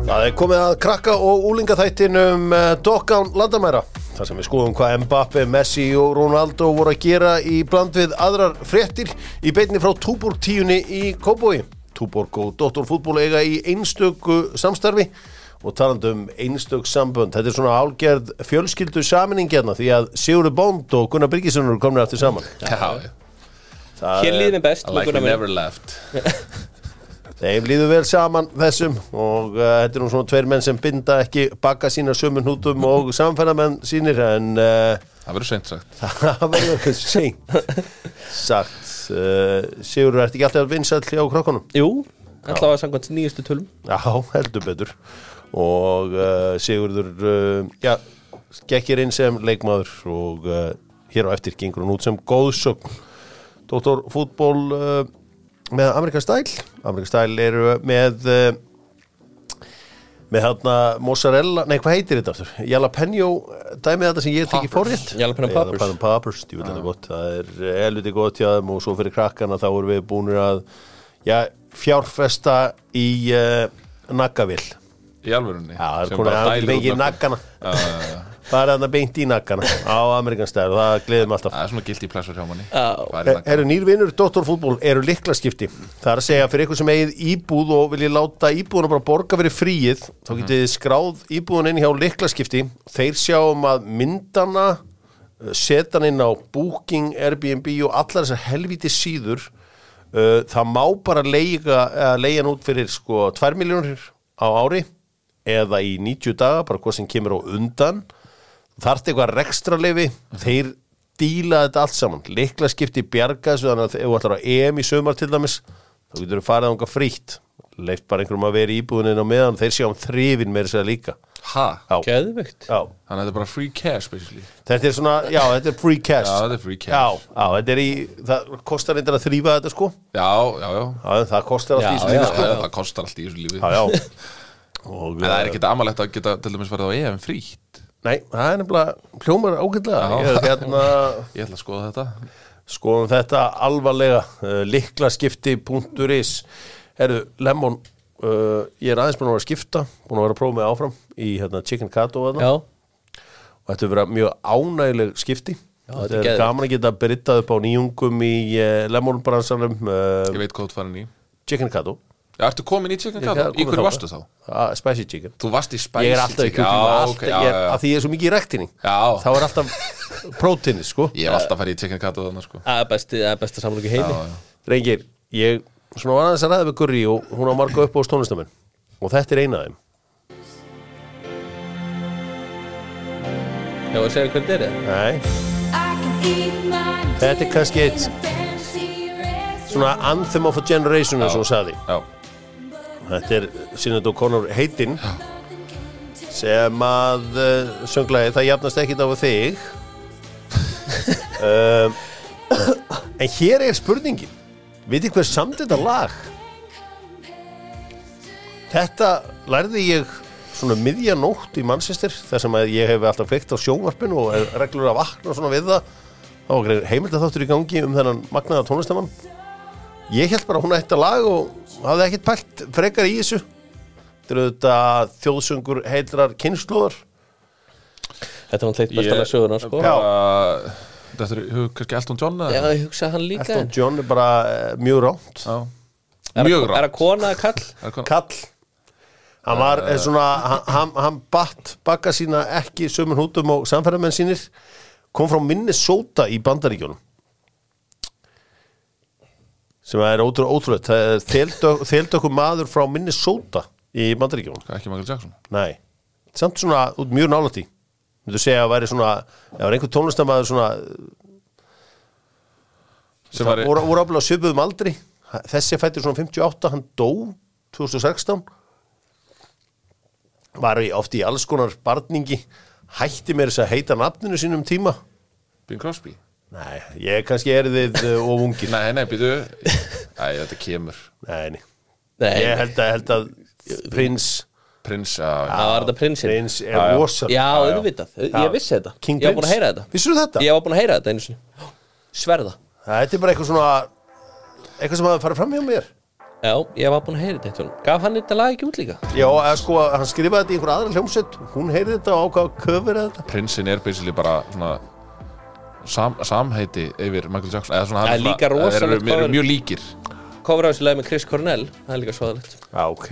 Það er komið að krakka og úlinga þættinum Dokkán Landamæra þar sem við skoðum hvað Mbappe, Messi og Ronaldo voru að gera í bland við aðrar fréttir í beinni frá Túborg tíunni í Kóbói Túborg og Dóttorfútból eiga í einstöku samstarfi og talandi um einstök sambönd þetta er svona álgerð fjölskyldu saminning hérna því að Sigurður Bónd og Gunnar Byrgisson eru komin aftur saman Já, Það Hér líðin er best I like we Gunnar minn. never left Þeim líður vel saman þessum og uh, þetta er nú svona tveir menn sem binda ekki bakka sína sömu hnútum og samferðamenn sínir en uh, Það verður seint sagt það verður eitthvað seint sagt uh, Sigurður, ertu ekki alltaf vinsall hjá krokkunum? Jú, allavega samkvæmt nýjustu tölum Já, heldur betur og uh, Sigurður uh, já, gekkir inn sem leikmaður og uh, hér á eftir gengur hún út sem góðsögn Dóttor fútból uh, með Amerika Stæl Amerika Stæl eru með uh, með þarna mozzarella, nei hvað heitir þetta aftur? Jalapeno, eh, dæmið þetta sem ég er ekki Poppers. forrétt Jalapeno poppers. Jalapeno Poppers, ég vil þetta gott það er eh, helviti gott hjá þeim og svo fyrir krakkana þá erum við búinir að já, fjárfesta í uh, naggavill já, Í alvörunni það er Sem konið bara að dælir út bengi nöglum. naggana Já, já, já. það er þarna beint í naggana á amerikanstæður og það gleðum alltaf Það er svona gilt í plessur hjá manni Já. Hvað Er, er eru nýrvinur Dóttorfútból eru liklaskipti það er að segja fyrir ykkur sem eigið íbúð og viljið láta íbúðuna bara borga fyrir fríið þá getið þið skráð íbúðun inn hjá liklaskipti þeir sjáum að myndana eh, setja hann inn á Booking, Airbnb og allar þessar helviti síður uh, það má bara leiga, leiga hann út fyrir sko 2 miljónir á ári eða í 90 daga, bara hvað sem kemur á undan þarfti eitthvað rekstralefi þeir díla þetta allt saman likla skipti bjarga þessu þannig að ef þú ætlar á EM í sömar til dæmis þá getur þú farið ánga frítt leift bara einhverjum að vera í íbúðinu á meðan þeir séu um þrifin með þess að líka Ha? já, Geðvögt já. Þannig að þetta er bara free cash basically þetta er svona, já, þetta er free cash Já, þetta er free cash. já, já, þetta er í, það kostar eitthvað að þrýfa þetta sko já, Já, já, já það kostar Já, allt í Já, þessu líka já, já, Það kostar allt í þessu lífi já, já Og, eh, En það er ekkit amalegt að geta til dæmis verið á EM frítt Nei, það er nefnilega hljómar ágætlega Já. Ég er hérna Ég ætla að skoða þetta skoðum þetta alvarlega uh, liklaskipti.is Herru, Lemon uh, ég er aðeins búin að vera að skipta búin að vera að prófa mig áfram í hérna, Chicken Cato og Já, þetta er verið mjög ánægileg skipti Já, þetta er þetta er geðveikt. gaman að geta brittað upp á nýjungum í uh, Lemon bransanum uh, Ég veit hvað þú ert farin í Chicken Cato Já, ertu komin í Chicken Cat? Í hverju varstu þá? Ah, spicy Chicken Þú varst í Spicy ég er alltaf í Chicken- kjúklingu Já, alltaf, ok, já, ég er, já, já. að því ég er svo mikið í rektinni Já. þá er alltaf prótini sko Ég hef alltaf farið í Chicken Cat og þannig sko það er besti, það er besta samlöku heimi Já, já. Rengir, ég svona var aðeins að ræða við Gurri og hún á marga upp á stónlistamenn og þetta er eina af þeim Já, og segja hvernig þetta er það Nei. Þetta er kannski eitt svona Anthem of a Generation eins og hún sagði Já, þetta er Sinead O'Connor heitinn sem að uh, sönglaði það jafnast ekkit á við þig um, en hér er spurningin vitið hver samt þetta lag þetta lærði ég svona um miðja nótt í Manchester þar sem að ég hef alltaf kveikt á sjónvarpinu og er reglur að vakna svona við það þá var heimild að þáttur í gangi um þennan magnaða tónlistamann ég held bara að hún ætti að lag og hafði ekkert pælt frekar í þessu þetta eru þetta þjóðsöngur heitrar kynnslóðar Þetta var alltaf besta Ég- lag sögurnar, sko Já. Bara- Þetta er hug- kannski Elton John eða? Já, ég hugsa hann líka Elton John er bara eh, mjög rámt Já. Er- Mjög Er rátt það kona eða kall? Er konan- kall hann var eh, svona, hann- hann, hann batt bakka sína ekki sömur hútum og samferðamenn sínir kom frá Minnesota í Bandaríkjónum sem er ótrúlega ótrúlega það er þeldökk- þeldökkur maður frá Minnesota í Bandaríkjónum Hvað, Ekki Michael Jackson Nei, samt svona út mjög nálægt í Þú segja að væri svona ef var einhver tónlistamæður svona sem var voru, voru ábúinlega söpuðum aldri þessi er fættur svona 58, hann dó 2016 var í, oft í alls konar barningi hætti mér þess að heita nafninu sínum um tíma Bing Crosby Nei, ég kannski er þið uh, of ungir Nei, nei, býtu Æ, þetta kemur Nei, nei. Nei, ég held að, held að prins, Prins að það var þetta prinsinn prins er vosa Já, auðvitað, ég vissi þetta King Ég var búin að Prince. heyra þetta Vissirðu þetta? Ég var búin að heyra þetta einu sinni Sverða Þetta er bara eitthvað svona eitthvað sem hafa farið fram hjá mér Já, ég var búin að heyra þetta eitt honum Gaf hann þetta lag ekki út líka? Já, eða sko, hann skrifaði þetta í einhverja aðra hljómsveit Hún heyrði þetta og ákvað að köfura þetta prinsinn er basically bara svona sam, samheiti yfir Michael Jackson eða svona Það er líka rosalegt þeir eru, hvað eru er- mjög líkir Kofra á þessu lagi með Chris Cornell Það er líka svoðalegt Já, ok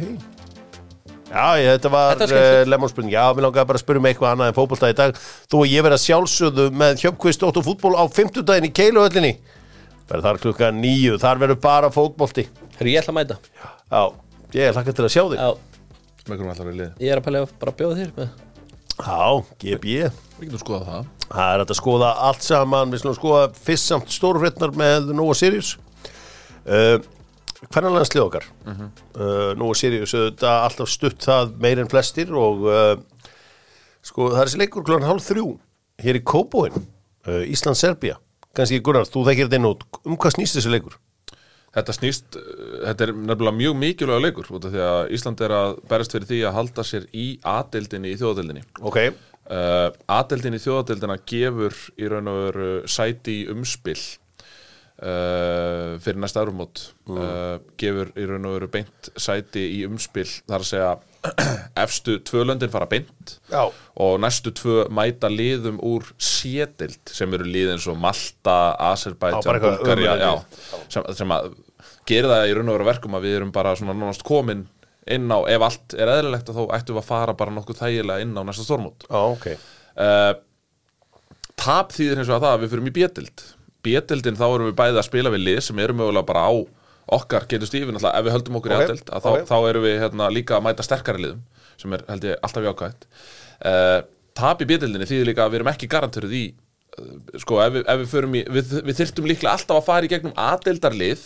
Já, ég, þetta var Þetta var þetta skemmtilegt. lemon spurning Já, mér langaði bara að spyrja um eitthvað annað en fótbolta í dag Þú og ég verða sjálfsögðu með Hjöpkvist og fútból á 50 daginn í Keiluhöllinni Verða þar klukka nýju, þar verður bara fótbolti Herru, ég ætla að mæta Já, ég hlakka til að sjá þig Já, Mækurum alltaf við lið ég er að pælega bara að bjóða þér með Já, E. GB Við getum skoðað það Það er hægt að skoða allt saman Við slum skoða fyrst samt stórfrétnar með Nóa Sirius uh, Hvernig landslið okkar mm Nóa Sirius auðvitað alltaf stutt það meir en flestir og uh, sko það er þessi leikur klokkan hálf þrjú hér í Kóbóin uh, Ísland-Serbía kannski Gunnar, þú þekkir þetta inn út um hvað snýst þessi leikur? Þetta snýst, uh, þetta er nefnilega mjög mikilvæg leikur út af því að Ísland er að berjast fyrir því að halda sér í aðdeldinni í þjóðadeldinni Ok, uh, aðdeldinni þjóðadeldina gefur í raun og veru sæti í umspil uh, fyrir næsta árumót Mm. uh, gefur í raun og veru beint sæti í umspil þar að segja efstu tvö löndin fara beint Já. og næstu tvö mæta liðum úr sédeld sem eru lið eins og Malta, Já, bara Azerbaijan, eitthvað Bulgaria ömurleg já, lið. sem, sem að gera það í raun og veru að verkum að við erum bara svona nánast komin inn á, ef allt er eðlilegt að þá ættum við að fara bara nokkuð þægilega inn á næsta stórmót á, ok uh, tap þýðir hins vegar það að við fyrum í B-dild B-dildin þá erum við bæði að spila við lið sem eru mögulega bara á okkar getur stífin alltaf ef við höldum okkur Ok, í A-dild að þá, ok. þá erum við hérna, líka að mæta sterkari liðum sem er held ég alltaf jákvæmt uh, tap í B-dildinni þýðir líka að við erum ekki garanturð í uh, sko ef við, ef við förum í við, við þyrftum líklega alltaf að fara í gegnum A-dildarlið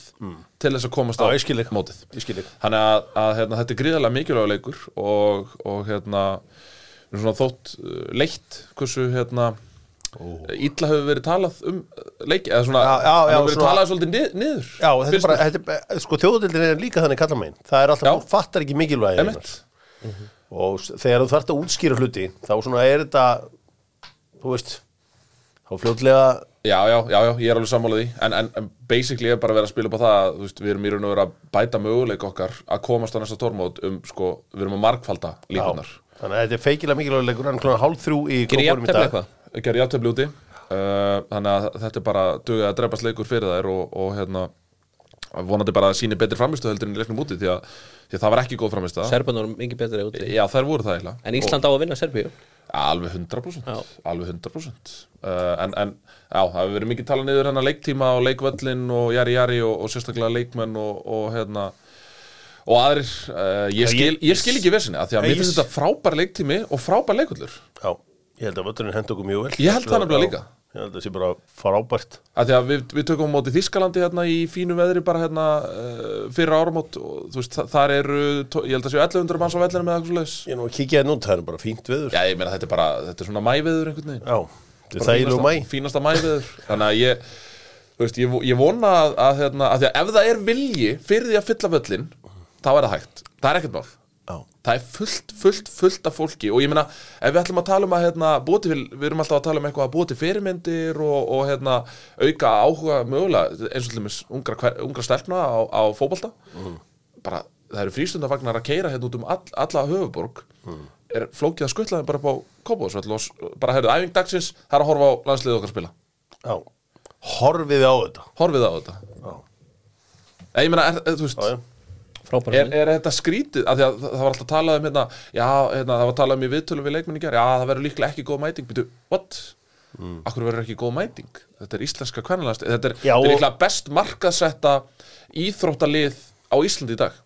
til þess að komast á Mm. Já, ég skil þig. mótið Ég skil þig. Þannig að, að hérna, þetta er gríðarlega mikilvægur leikur og, og hérna, við erum svona þótt uh, leitt hversu hérna, illa hefur verið talað um uh, leik eða svona, Já, já, já, hann hefur verið svona- talað svolítið nið- niður Já, þetta er finnst bara, mér. þetta er, sko þjóðdildin er líka þannig kallar megin Það er alltaf, Já. fólk fattar ekki mikilvægi Einmitt. og s- þegar þú þarft að útskýra hluti þá svona er þetta þú veist þá fljótlega já, já, já, já, ég er alveg sammálað því en, en, en basically er bara verið að spila upp á það að, þú veist, við erum í raun og verið að bæta möguleik okkar að komast á næsta tormót um sko, við erum að markfalda já, líkunar þannig að þetta er feikilega mikilvægur leikur en klokkan hálf þrjú í Gerir Kópavoginum um í jafntefli dag eitthvað? gerði jafntefli úti uh, þannig að þetta er bara dugið að drepa sleikur fyrir þær og, og hérna vonandi bara að síni betri framistu heldur en í leiknum úti því að, því að það var ekki góð framistu Serban voru mikið betri úti Já, þær voru það eiginlega En Ísland á að vinna Serbíu og, Alveg 100% Já. Alveg 100% uh, en, en já, það hefur verið mikið talað niður hennar leiktíma og leikvöllin og jari jari og, og sérstaklega leikmenn og, og hérna og aðrir, uh, ég, skil, ég skil ekki vesinni að því að Ég- mér finnst þetta frábær leiktími og frábær leikullur já, ég held að völdurinn hend okkur mjög vel Ég held það nefnilega líka. ég held að það sé bara frábært að því að við, við tökum á móti Þískalandi hérna í fínu veðri bara hérna uh, fyrir áramót og þú veist, þa- þar eru, tó- ég held að séu 1100 manns á vellinu með eitthvað svoleiðis ég er nú að kíkja þetta nút, það er bara fínt viður Já, ég meina þetta er bara, þetta er svona mæveður einhvern veginn já, þetta er þægilegu mæ Fínasta mæveður, þannig að ég, þú veist, ég, vo- ég vona að, að, hérna, að því að ef það er vilji fyrir því að fylla völlin, þá er það hægt, það er ekkert mál já, það er fullt, fullt, fullt af fólki og ég meina, ef við ætlum að tala um að hérna, búti, við erum alltaf að tala um eitthvað að búti fyrirmyndir og, og hérna, auka áhuga mögulega, eins og tlumis ungra, hver- ungra stelpna á, á fótbolta bara, það eru frístundavagnar að keira hérna út um all, alla höfuborg er flókið að skuttla þeim bara upp á kópáðsvöll og s- bara, heyrðu, æfing dagsins það er að horfa á landsliðið okkar spila já, horfið á þetta horfið á þetta já, Nei, ég meina, er, er, þú veist, já, já. Frábæra er, er þetta skrítið af því að það það var alltaf talað um hérna, já, hérna, það var talað um í viðtölum við leikmenni gerð, já, það verður líklega ekki góð mæting býtu, what? Akkur verður ekki góð mæting? Þetta er íslenska kvennalæst þetta er, Mm. Já, þetta er og- líklega best markaðsetta íþróttalið á Íslandi í dag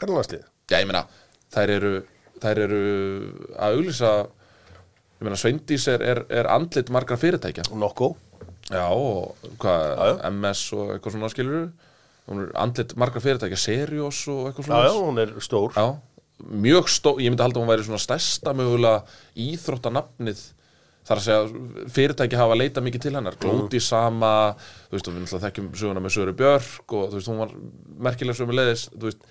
hvernig landslið? Já, ég meina, þær eru þær eru að auglýsa ég meina, Sveindís er, er, er andlit margra fyrirtækja Nokko Já, og hvað, Já, já. MS og eitthvað svona skilur hún er andlit margra fyrirtækja, Seriós og já, eitthvað svona já, hún er stór Já, mjög stó, ég myndi halda að hún væri svona stærsta mögulega íþróttanafnið þar að segja fyrirtæki hafa leitað mikið til hennar Glóti sama, þú veist, og við náttúrulega þekkjum söguna með Söru Björk og þú veist, hún var merkileg sömu leiðis, þú veist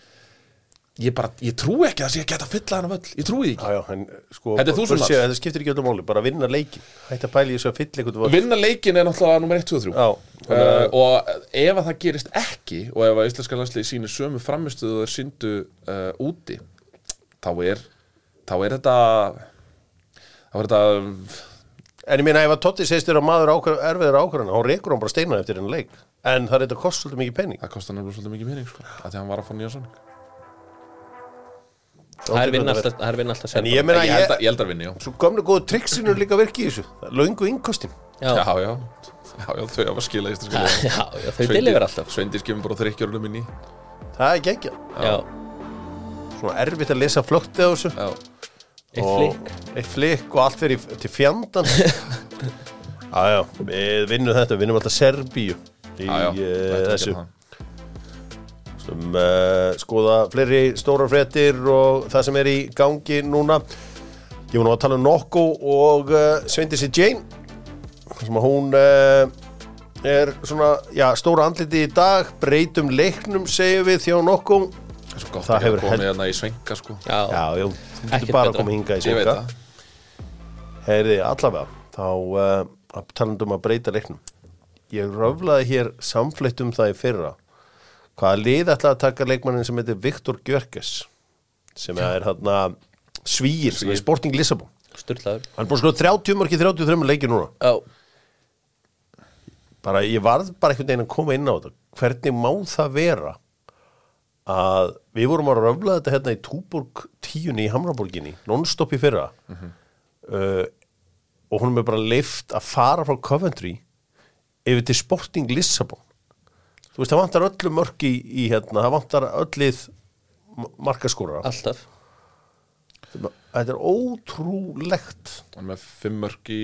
ég bara, ég trúi ekki að það sé að geta að fylla hann af öll, ég trúi því ekki Já, já, en sko Þetta er þú sem burtséð- alls. Þetta skiptir ekki öllu máli, bara vinna leikin Hætt að pæla í þessu að fylla eitthvað Og vörn. vinna leikin er náttúrulega nummer 1, 2 og 3 Já, uh, og ef að það gerist ekki og ef að íslenska landslið sýnir sömu framistuðu og þeir sýndu uh, úti þá er þá er þetta þá er þetta En ég meina ef að Totti segist þér að maður ákvör, erfiður ákvörðan Hún rekur hann bara steinar eftir henni leik En það er þetta kost svolítið mikið penning það kostar nefnilega svolítið mikið pening sko, að því að hann var að fá nýja samning Það er vinna alltaf, það er vinna alltaf En ég meina, ég held að, ég held að vinni, já svo gömlu góðu triksinu líka virki í þessu Það er Löngu innkostin Já, Já, já, já, já, já þau hafa skilað íslenska liðinu. já, já þau deliver alltaf Sveindís kemur bara þrykkjörunum inn í Það er geggja Já, Svona erfitt að lesa flögt eða þessu Já, eitt Og- flikk Eitt flikk og allt fyrir til fjandan Já, já, við vinnum þetta Við vinnum alltaf Serbíu Í já, hérna. já eh, ætti að þessu gera það. sem uh, skoða fleiri stórar fréttir og það sem er í gangi núna ég var nú að tala um Nokko og uh, Sveindissi Jane þar sem að hún uh, er svona, já, stóra andliti í dag breytum leiknum, segjum við þjá Nokko Það er svo gott Það að hefur hefur komið held- hérna í svenka sko Já, já, já, þú Ekkert getur bara betra. að koma hingað í Ég veit svenka það heyrði allavega þá uh, talandum að breyta leiknum ég röflaði hér samfleytt um það í fyrra hvaða lið ætlaði að taka leikmannin sem heitir Viktor Gjörges sem er hérna svíir sem er Svíir. Sporting Lissabon sturlaður hann er búin sko 30 mörki 33 leikir núna Já, bara ég varð bara einhvern veginn að koma inn á þetta hvernig má það vera að við vorum að röfla þetta hérna í Túborg tíunni í Hamraborginni non-stop í fyrra uh, og honum er bara leift að fara frá Coventry yfir til Sporting Lissabon þú veist það vantar öllu mörk í, í hérna, það vantar öllið markaskóra alltaf þetta er ótrúlegt Hann er með fimm mörg í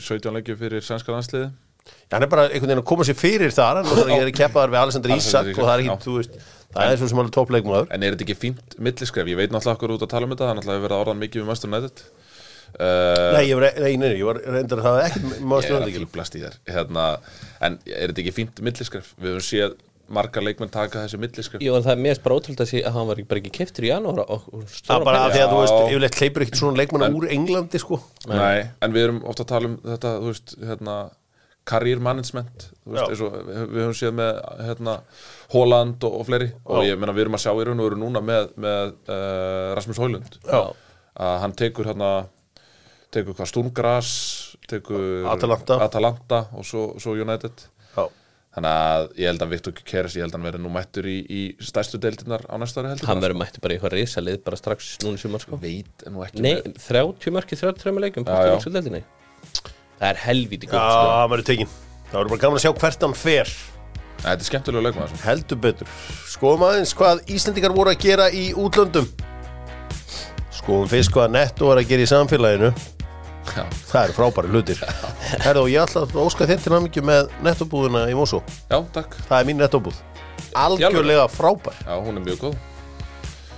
17 leikju fyrir sænska landsliði Já, hann er bara einhvern veginn að koma sér fyrir þar en náttúrulega ég er að keppa þar við Alessandr Ísak og Alexander Isak, það er ekki, já. þú veist það er svo sem alveg toppleikmaður En er þetta ekki fínt milliskref? Ég veit náttúrulega okkur út að tala um þetta Það er náttúrulega verið orðan mikið við Master United uh, Nei, ég var, nei, nei, nei, ég var reyndar að það var ekki maður Ég er stjórnandi að fýblast í þér hérna, En er þetta ekki fínt milliskref? Við höfum séð marga leikmenn taka þessi milliskref Jú, en það er mjög bara ótrúld að sé að hann var ekki bara ekki keftur í janúar og, og Það er stóra bara að því að þú veist, Já. yfirleitt hleypur ekkert svona leikmanna úr Englandi, sko Nei, en við erum ofta að tala um þetta, þú veist, hérna career management, þú Já. veist, eins og við við höfum séð með, hérna, Holland og, og fleiri, og ég meina við erum að sjá í raun og veru núna með, með uh, Rasmus Hólund, Já. að hann tekur hérna, tekur hvað, Stungras tekur Atalanta. Atalanta og svo, svo United Já, þannig að ég held að Viktor Keres ég held að hann verið nú mættur í, í stærstu deildirnar á næsta ári heldur Hann verður mættu bara í eitthvað risalið bara strax núna í sumar sko veit nú ekki Nei, með- 30 mörki 33 leikum Já, já. Portugalsdeldinni Það er helvíti Já, góð sko. það verður tekin Það verður bara gaman að sjá hvert hann fer Nei, þetta er skemmtilega leikmaður sko. Heldur betur Skoðum aðeins hvað Íslendingar voru að gera í útlöndum Skoðum fyrst hvað Netto var að gera í samfélaginu Já. Það eru frábæri hlutir Herðu, og ég ætla að óska þér til hamingju með nettobúðuna í Mosó já, takk það er mín nettobúð algjörlega frábær já, hún er mjög góð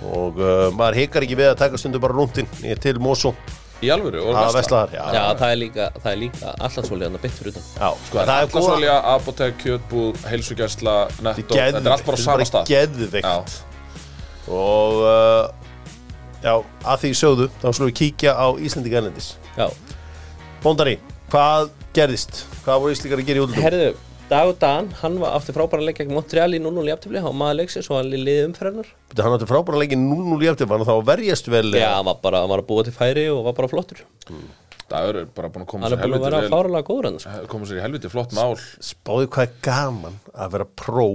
og uh, maður hikar ekki við að taka stundu bara rúntinn í- til Mosó Í alvöru, og að versla vesla þar já, Já, það er líka, það er líka allansvólið hann að bytt fyrir utan já, Sko, það er góða- allasólja, apotek, kjötbúð, heilsugjæsla, netto Þetta er Þetta er allt bara á sama stað geðveikt. og uh, já, að því sögðu þá slúum við kíkja á Íslendinga erlendis Já, Bóndari, hvað gerðist? hvað voru Íslendingar að gera í útlundum? herðu, Dag og Dan, hann var átti frábæra leik gegn Montreal í 0-0 í aftifli og maður leiksins og hann liði umferðarnar hann átti frábæra leikin 0-0 í eftir var hann þá að verjast vel Já, hann var bara, hann var að búa til færi og var bara flottur Dagur er bara búin að koma Hann er sér búin að vera helviti vel fáralega góður hann sko. koma sér í helviti flott mál spáðu hvað er gaman að vera pró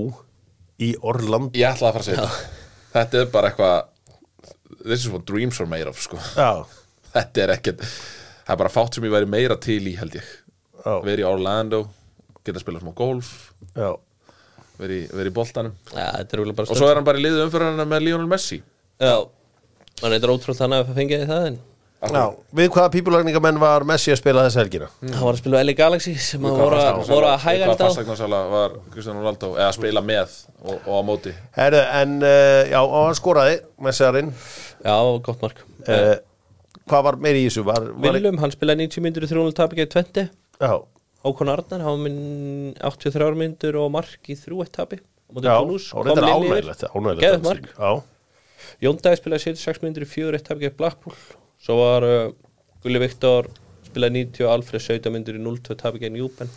í Orlandi Ég ætlaði að fara að segja þetta Þetta er bara eitthvað This is what dreams are made of sko. já, Þetta er ekkert Það er bara fátt sem ég væri meira til í held ég Já. Verið í Orlando Geta að spila smá golf já Verið veri í boltanum Já, þetta er úrlega bara Og svo er hann bara í liðu umfyrirna með Lionel Messi Já, hann er ótrúld þannig að fengja því það en Hmm. Já, við hvaða pípulagningamenn var Messi að spila þessa helgina? Hann var að spila LA Galaxy sem hann voru að- voru að hæga Hvað þetta á fastegnarsala var Kristján Ronaldo Eða að spila með og, og á móti Herðu, en uh, já, og hann skoraði Messiarinn Já, gott mark Eh, Eh, uh, Hvað var meiri í þessu? Var, var, Willum, hann spilaði 90 myndur í 300 tapi gegn 20 já, Ókon Arnar, hann var minn 83 myndur og mark í 3-1 tapi já, og reyndar ánægilegt Ánægilegt Geðið að mark þessu. Já, Jón Dæði spilaði 76 minnir í 4-1 tap gegn Blackpool svo var uh, Gulli Viktor spilaði 90 og Alfred 17 minnir í 0-2 tap gegn Júben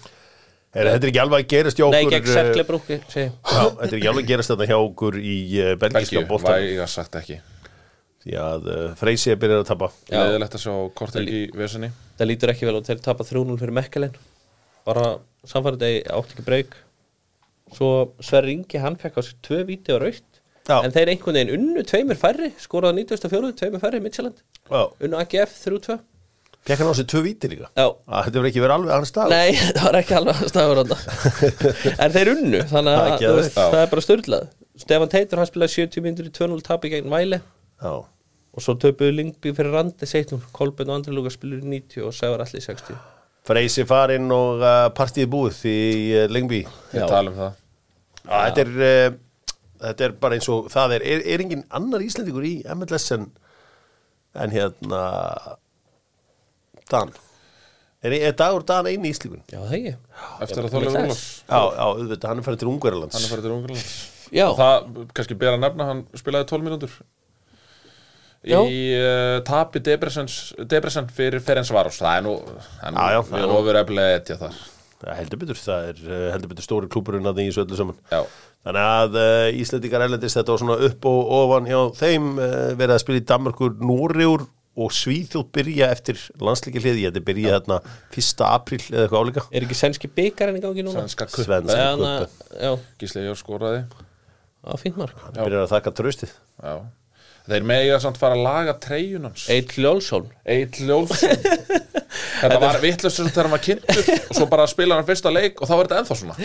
Er, þetta er ekki alveg að gerast hjá okkur Nei, gegn eh, Serklebrúki segi ég. Já, þetta er ekki alveg að gerast þetta hjá okkur í uh, belgíska Belgíu, bóltan væga sagt ekki Því að uh, Freysi er byrjað að tapa Já. Leðilegt að sjá kortir í vesenni Það lítur ekki vel og þeir tapa 3-0 fyrir Mekkelen bara samfærið þeir átti ekki breyk svo Sverri Ingi hann fekk á sig tvö víti og raut Já. en þeir einhvern veginn unnu tveimur færri skoraði á 94, tveimur færri, Midtjaland Já, unnu AGF 3-2 fekk hann á sig tvö víti líka Já. Að Þetta verður ekki verið alveg annars dag Nei, það var ekki alveg stafur þarna En þeir unnu, Það er þannig að ekki þú að veist, veit. það er bara störlað Stefan Teitur, hann spilaði 70 myndir í 2-0 tapi gegn Væle Já, og svo töpuðu Lingby fyrir Randi seittnum Kolben og Andri Lúka spilur í 90 og Sævar allir 60 Freysi farinn og uh, partíð búið í uh, Lengby Ég tala um það Já, þetta er uh, þetta er bara eins og það er, er, er engin annar Íslendingur í MLS en, en hérna Dan Er, er dagur Dan eini Íslendingur? Já, það ekki Eftir að Ég- Þorleifur Bless. Úlfs Já, já, auðvitað, hann er farið til Ungverjalands Hann er farið til Ungarlands Já, Og það, kannski ber að nefna, hann spilaði 12 mínútur Í Já. uh, tapi Debresens- Debresen fyrir Ferenc Varos Það er nú, það er nú, Já, já, við já. erum ofur eflega etja þar Það er heldur betur, það er uh, heldur betur stóri klúburinn að því í þessu öllu saman. Já. Þannig að uh, Íslendingar erlendist þetta var svona upp og ofan hjá þeim uh, verið að spila í Danmarkur, Núriur og Svíþjóð byrja eftir landsleiki hliði, þetta byrja þarna 1. april eða eitthvað álíka. er ekki senski byggarinn í gangi núna? Svenska kupp Svenska Já, kuppen. na- Já, Gísli Jór skoraði á fínt mark Hann byrjar að þakka tröstið. Já Þeir mega samt fara að laga treyjunans Eitl Jólsson Eitt Ljólfsson Þetta var vittlust þegar hann var kynntur og svo bara spila hann fyrsta leik og þá var þetta ennþá svona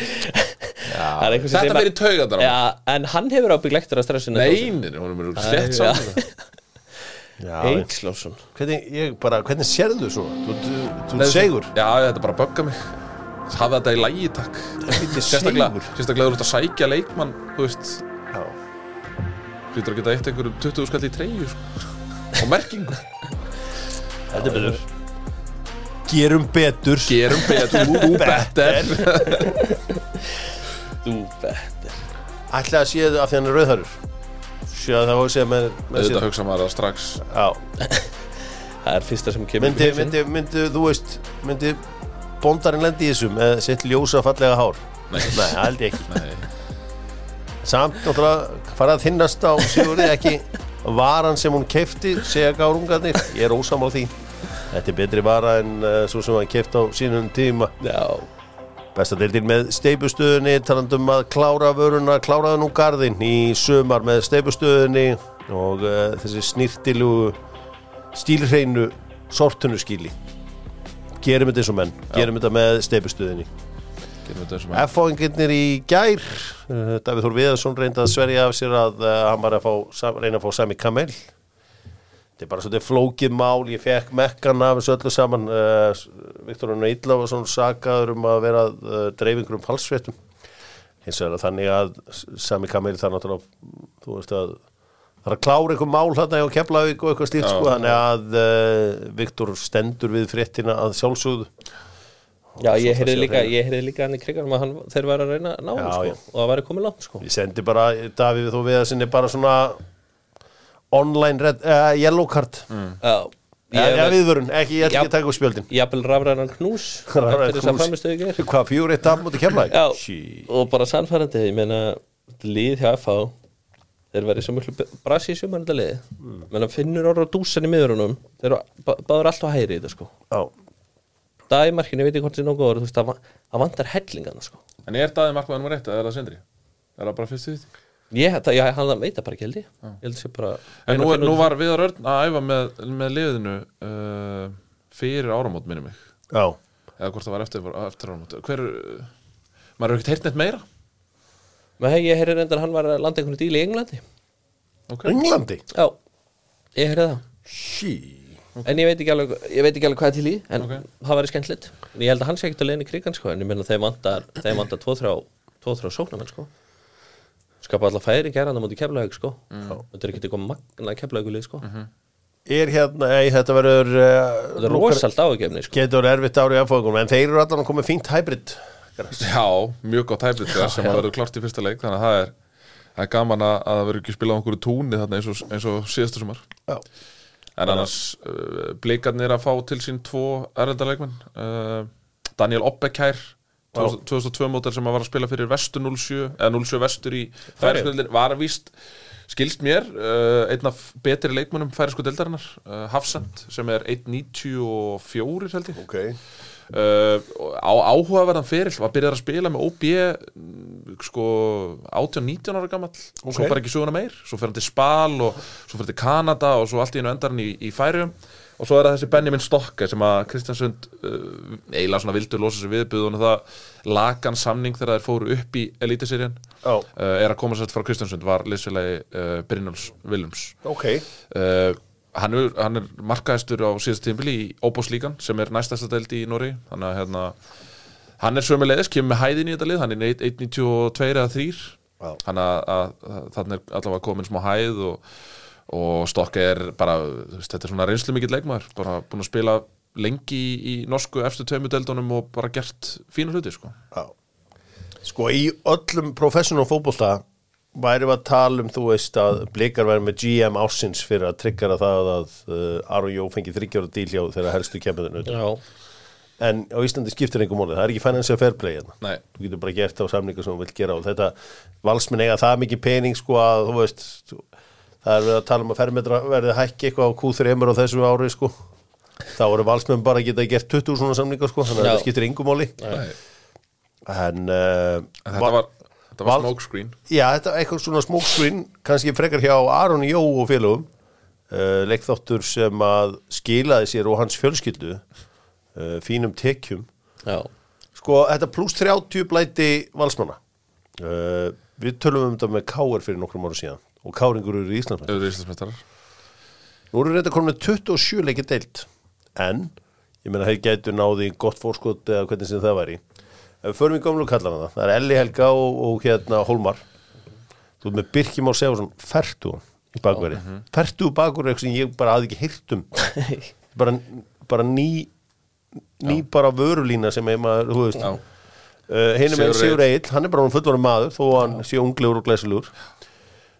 Þetta verið taugandar á Já, en hann hefur ábygglegtur að stressinu Neinir, hún er mjög slett já. saman þetta. Já, Eitl Jólsson hvernig, ég bara, hvernig sérðu svona? Þú, þú, þú Nei, ert segur. Já, þetta bara bögga mig Hafa þetta í lægi, takk Helviti Sérstaklega, sigur. sérstaklega þú ert að sækja leikmann Þú veist, Já. hlýtur að geta eitt einhverjum 20 skall í treyju sko. Og merkingu Þetta er betur. Gerum betur. Gerum betur, þú betur Þú eh, betur Ætla að séðu af því hann er rauðharur. Séðu að það var að segja með, með Þetta sér. hugsa maður það strax Já, Það er fyrsta sem kemur myndi, upp í hausinn. myndi, myndi, þú veist myndi bondarinn lendi í þessum með sitt ljósa fallega hár Nei. það held ég ekki Nei, samt náttúrulega fara að þinnast á Sigurði ekki varan sem hún kefti segja gárungarnir, ég er ósamála því þetta er betri vara en uh, svo sem hann kefti á sínum tíma Já Besta deildin með steipustöðunni, talandum að klára vöruna, kláraðu nú garðinn í sömar með steipustöðunni og uh, þessi snirtilu stílreinu sortunuskíli. Gerum þetta eins og menn, gerum þetta með steipustöðunni. gerum þetta eins og maður F-fáingarnir í gær, uh, Davíð Þór Viðarsson reyndi að sverja af sér að uh, hann var að fá, sam- reyna að fá sami kamel. Þetta er bara svolítið flókið mál, ég fekk mekkan af þessu öllu saman. Uh, Viktor Unna Ítla var svona sakaður um að vera uh, dreifingur um falsfréttum. Hins vegar er þannig að s- sami kamil það náttúrulega, þú veist að það er að klára einhver mál þarna hjá Keflavík og eitthvað slíkt Já. sko, þannig að uh, Viktor stendur við fréttina að sjálfsögðu. Já, Svo ég það heyrði sé á líka, hreinu. ég heyrði líka hann í krigarum að hann, þeir væri að reyna að ná hann Já, sko, já. og það væri komið langt sko. Ég sendi bara Davíð þó við að sinni bara svona online red, uh, yellow card mm. Já, ég, ég ja, viðvörun, ekki, ég ætla ekki Já. að taka upp spjöldin jafnvel rafræðan knús Rafrænan eftir þess að knús. framistöðu ger Hvað, fjúr eitt af mútið kemla Já, og bara sannfærandi, ég meina lið hjá FH þeir verið svo miklu brasi í sumar þetta liði mm. menna finnur orða dúsan í miðurunum þeir eru ba- báður alltaf hægri í þetta sko Já, dagmarkinu, ég veit ekki hvort þið nógu orð þú veist, það va- það vantar hellingana sko En er daðið markmaður nummer eitt, eða er það sindri? Er það bara fyrstu því? ég, það, já, hann veit það bara ekki held ég ég held sér bara En nú, reyna að er, finna nú út- var Viðar Örn að æfa með, með liðinu uh, fyrir áramót minni mig já eða hvort það var eftir, eftir áramót Hver, uh, maður hefur ekkert heyrt neitt meira Nei, ég heyrði reyndar að hann var að landa einhvern díl í Englandi okay. Englandi Já, ég heyrði það Sí En ég veit ekki alveg, ég veit ekki alveg hvað er til í En Ok. það væri skemmtilegt En ég held að hann sé ekkert að leiðin í krigan sko En ég meina þeim vantar, þeim vantar tvo, þrjá, tvo, þrjá sóknarmenn sko Skapa alltaf færi gerðan á móti keflaug sko Þetta er ekki eitthvað magna keflaugulið sko Er hérna, ei, þetta verður Þetta uh, er rosalt áhugjefni sko Getur erfitt árið aðfóðum En þeir eru allan að koma með fínt hybrid Já, mjög gott hæfnir sem að verður klárt í fyrsta leik þannig að það er það er gaman að, að það verður ekki spilað á einhverju túni þarna eins og, eins og síðastu sumar Já. en annars uh, blikarnir að fá til sín tvo erlendarleikmenn uh, Daniel Oppekær 2002 mótar sem að var að spila fyrir Vestu 07 eða 07 Vestur í færiskudeldin var að víst skilst mér uh, einn af betri leikmennum færiskudeldarinnar uh, Hafsend sem er 1.94 held ég Ok, uh, á áhugaverðan ferill var byrjað að spila með OB mm, sko 18-19 ára gamall og svo Ok. bara ekki söguna meir svo fer hann til Spal og svo fer hann til Kanada og svo allt í einu endar hann í, í Færium og svo er það þessi Benjamin Stokka sem að Kristjansund uh, eiginlega svona vildur losa sér viðbyðun og það lagan samning þegar þeir fóru upp í Eliteserien Já. uh, er að koma sér frá Kristjansund var liðsfélagi uh, Brynjóls Viljums ok Uh, hann, er, hann er markaðistur á síðast tímbili í Óbóslíkan sem er næstasta deild í Nóri þannig að hérna, hann er sömulegis, kemur með hæðin í þetta lið hann er 1.92 eða 3 Já. þannig að, að, að þannig er allavega komin smá hæð og, og Stokka er bara, þú veist, þetta er svona reynslu mikill leikmaður, bara búin að spila lengi í, í norsku efstu tveimu deildunum og bara gert fína hluti sko. Já. Sko í öllum professional fótbolta væri að tala um, þú veist, að blikar væri með GM ásins fyrir að tryggjara það að uh, Aron Jó fengi þryggjóra díl hjá þeirra helstu kemurðinu. Já, En á Íslandi skiptir einhver mólið, það er ekki financial fair play hérna. Nei. Þú getur bara gert á samningu sem þú vilt gera og þetta valsmenn eiga það mikið pening sko að þú veist, þú- það er verið að tala um að fermetra verði hækki eitthvað á Q3 á þessu ári sko. Þá eru valsmenn bara að geta gert 20 svona samninga sko, þannig að Já. þetta skiptir einhver móli. Nei. En, uh, en þetta var, þetta Val- var smoke screen Já, þetta er eitthvað svona smoke screen kannski frekar hjá Aron Jó og félögum uh, leikþáttur sem að skilaði sér og hans fjölskyldu uh, fínum tekjum já, Sko, þetta pluss 30 blæti valsmanna uh, Við tölum um þetta með Káir fyrir nokkrum ára síðan og Káringur eru í Íslandsmenn auðvitað íslensmestarar Nú eru reynda komin með 27 leikir deilt en, ég meina þeir gætu náði gott fórskot eða hvernig sem það væri Ef við förum í gamlu kallana það, það er Elli Helga og, og hérna Hólmar Þú ert með Birki Már Sefarsson fertu í bakveri mhm. fertu í bakveri er eitthvað sem ég bara hafði ekki heyrt um bara, bara ný ný bara vörulína sem er maður, þú veist Já. uh, hinum er Sigurður Sigur Egil, hann er bara hún fullvarum maður þó að hann sé unglegur og glæsilegur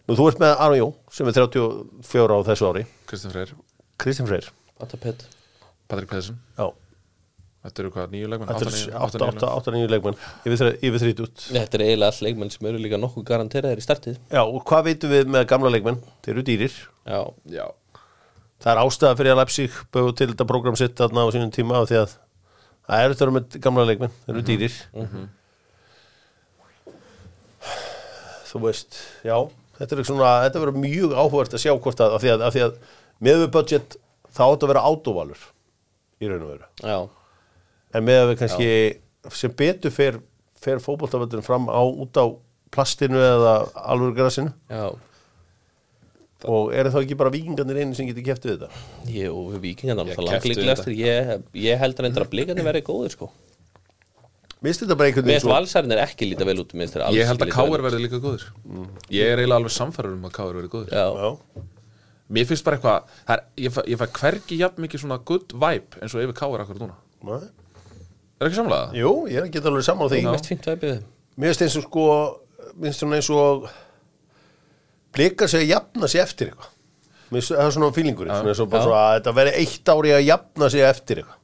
Nú þú ert með Aron Jó sem er 34 á þessu ári Kristján Freyr, Kristján Freyr Atapet Patrik Pedersen Já, Þetta eru hvað, nýju leikmenn? þetta Átta, níu- er átta, níu leikmenn. 8-9 leikmenn yfir þre- yfir 30 Þetta er eiginlega all leikmenn sem eru líka nokkuð garanteraðir í startið Já, og hvað veitum við með gamla leikmenn? Þeir eru dýrir Já, Já, Það er ástæða fyrir að Leipzig búið til þetta program sitt þarna á sínum tíma af því að það er þetta með gamla leikmenn, þeir eru dýrir Mhm. Þú veist, já þetta er svona, þetta verður mjög áhugavert að sjá hvort að, af því að, af því að með við budget þá átt að vera átóvalur í raun og veru já, en með að við kannski sem betur fer, fer fótboltavöldurinn fram á út á plastinu eða alvöru grasinu já og eru þá ekki bara vikingarnir einu sem getur keftið þetta Ég og við vikingarna Ég náttúrulega kefti langleiklegastir ég, ég held reyndar að blikarnir verið góðir sko minnst þetta bara einhvern Mér veginn finnst svo valsarinn er ekki líta vel út mér finnst þeir alls ég held að ekki líta Káir vel út. Mm. verði líka góður Ég er eiginlega alveg samfæður um að Káir verði góður Já, Já. Mér finnst bara eitthvað, það er, ég, fæ, ég fæ hvergi jafn mikið svona good vibe eins og yfir Káir akkur núna Nei. Er ekki samlega það? Jú, ég er ekki alveg saman á því Ég mest fínt væpið þeim mér finnst eins og sko minnst svona eins og blikar sig að jafna sig eftir eitthvað Mér finnst- það er svona fílingur svona eins og bara Já. svo að þetta veri eitt ári að jafna sig eftir eitthvað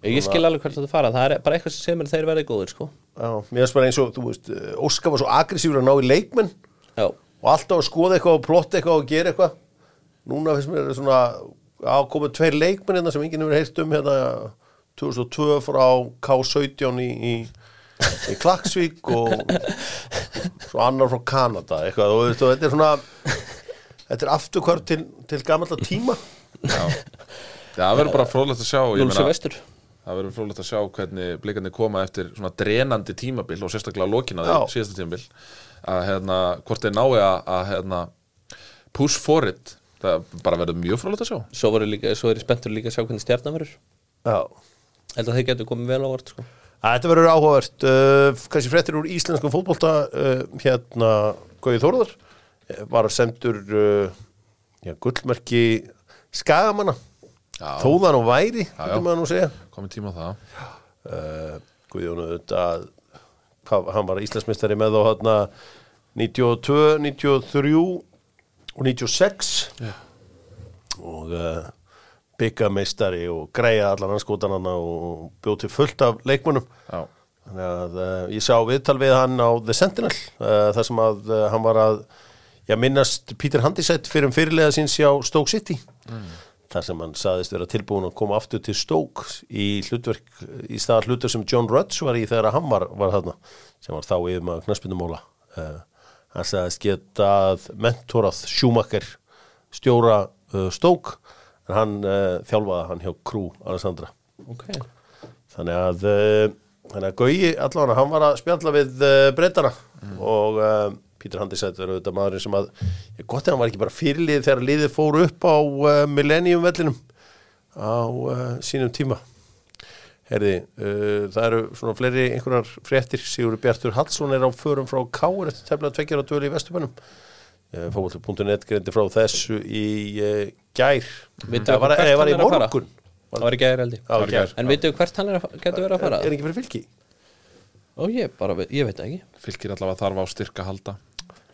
Ég skil alveg hvert þetta fara, það er bara eitthvað sem segir mér að þeir verði góðir sko Já, mér finnst bara eins og, þú veist, Óskar var svo agressífur að ná í leikmenn Já, og alltaf að skoða eitthvað og plotta eitthvað og gera eitthvað núna finnst mér svona að koma tveir leikmenn hérna sem enginn hefur heyrt um hérna 2002 frá K17 í, í, í Klaksvík og svo annar frá Kanada eitthvað og veistu, þetta er svona þetta er afturkvörð til, til gamalla tíma Já, það verður bara fróðlegt að sjá ég Júlsjö meina, Vestur Það verður fróðlegt að sjá hvernig blikarnir koma eftir svona drenandi tímabil og sérstaklega lokina því, Já. síðasta tímabil að hérna, hvort þeir nái að, að hérna, push for it Það bara verður mjög fróðlegt að sjá Svo, voru líka, svo er ég spenntur líka að sjá hvernig stjarnan verður Já. Held að þeir getur komið vel á vart sko Þetta verður áhugavert uh, kannski fréttir úr íslenskum fótbolta uh, hérna Gauði Þórðar eh, var sendur uh, já, gullmerki skagamanna Já. þóðan og væri, Já, getur já. maður nú að segja Komið tíma á það uh, Guðjón auðvitað hvað- hann var íslensmistari með þá hérna 92, 93 og 96 og uh, byggameistari og greiða allan hans skotanana og bjóti fullt af leikmönnum Já. þannig að uh, ég sá viðtal við hann á The Sentinel uh, þar sem að uh, hann var að já, minnast Peter Handisett fyrir um fyrirlega síns hjá Stoke City þar sem hann saðist vera tilbúin að koma aftur til Stoke í hlutverk í stað hlutur sem John Rudge var í þegar hann var, var þarna sem var þá yfir maður knaspindumóla uh, hann saðist getað mentorað Schumacher stjóra uh, Stoke en hann uh, þjálfaði hann hjá Krú Alessandra ok þannig að eh, þannig að Gauji allavega hann var að spjalla við uh, breytana og uh, Pítur Handisætt verður auðvitað maðurinn sem að ég gott að hann var ekki bara fyrirlið þegar liðið fór upp á uh, millennium vellinum á uh, sínum tíma Herði, uh, það eru svona fleiri einhverjar fréttir, Sigur Bjartur Hallsson er á förum frá Káur eftir tefnilega tveggjara döl í Vesturbænum uh, fókvöldu.net greindi frá þessu í uh, gær Vitið það var, hvert nei, var í hann er að fara? morgun það var í gæri eldi Það var í gær. en veitum við hvert hann er að, getur verið að er, fara er ekki fyrir fylki? ó ég bara, veit- ég veit það ekki Fylgir allavega þarf á styrka að halda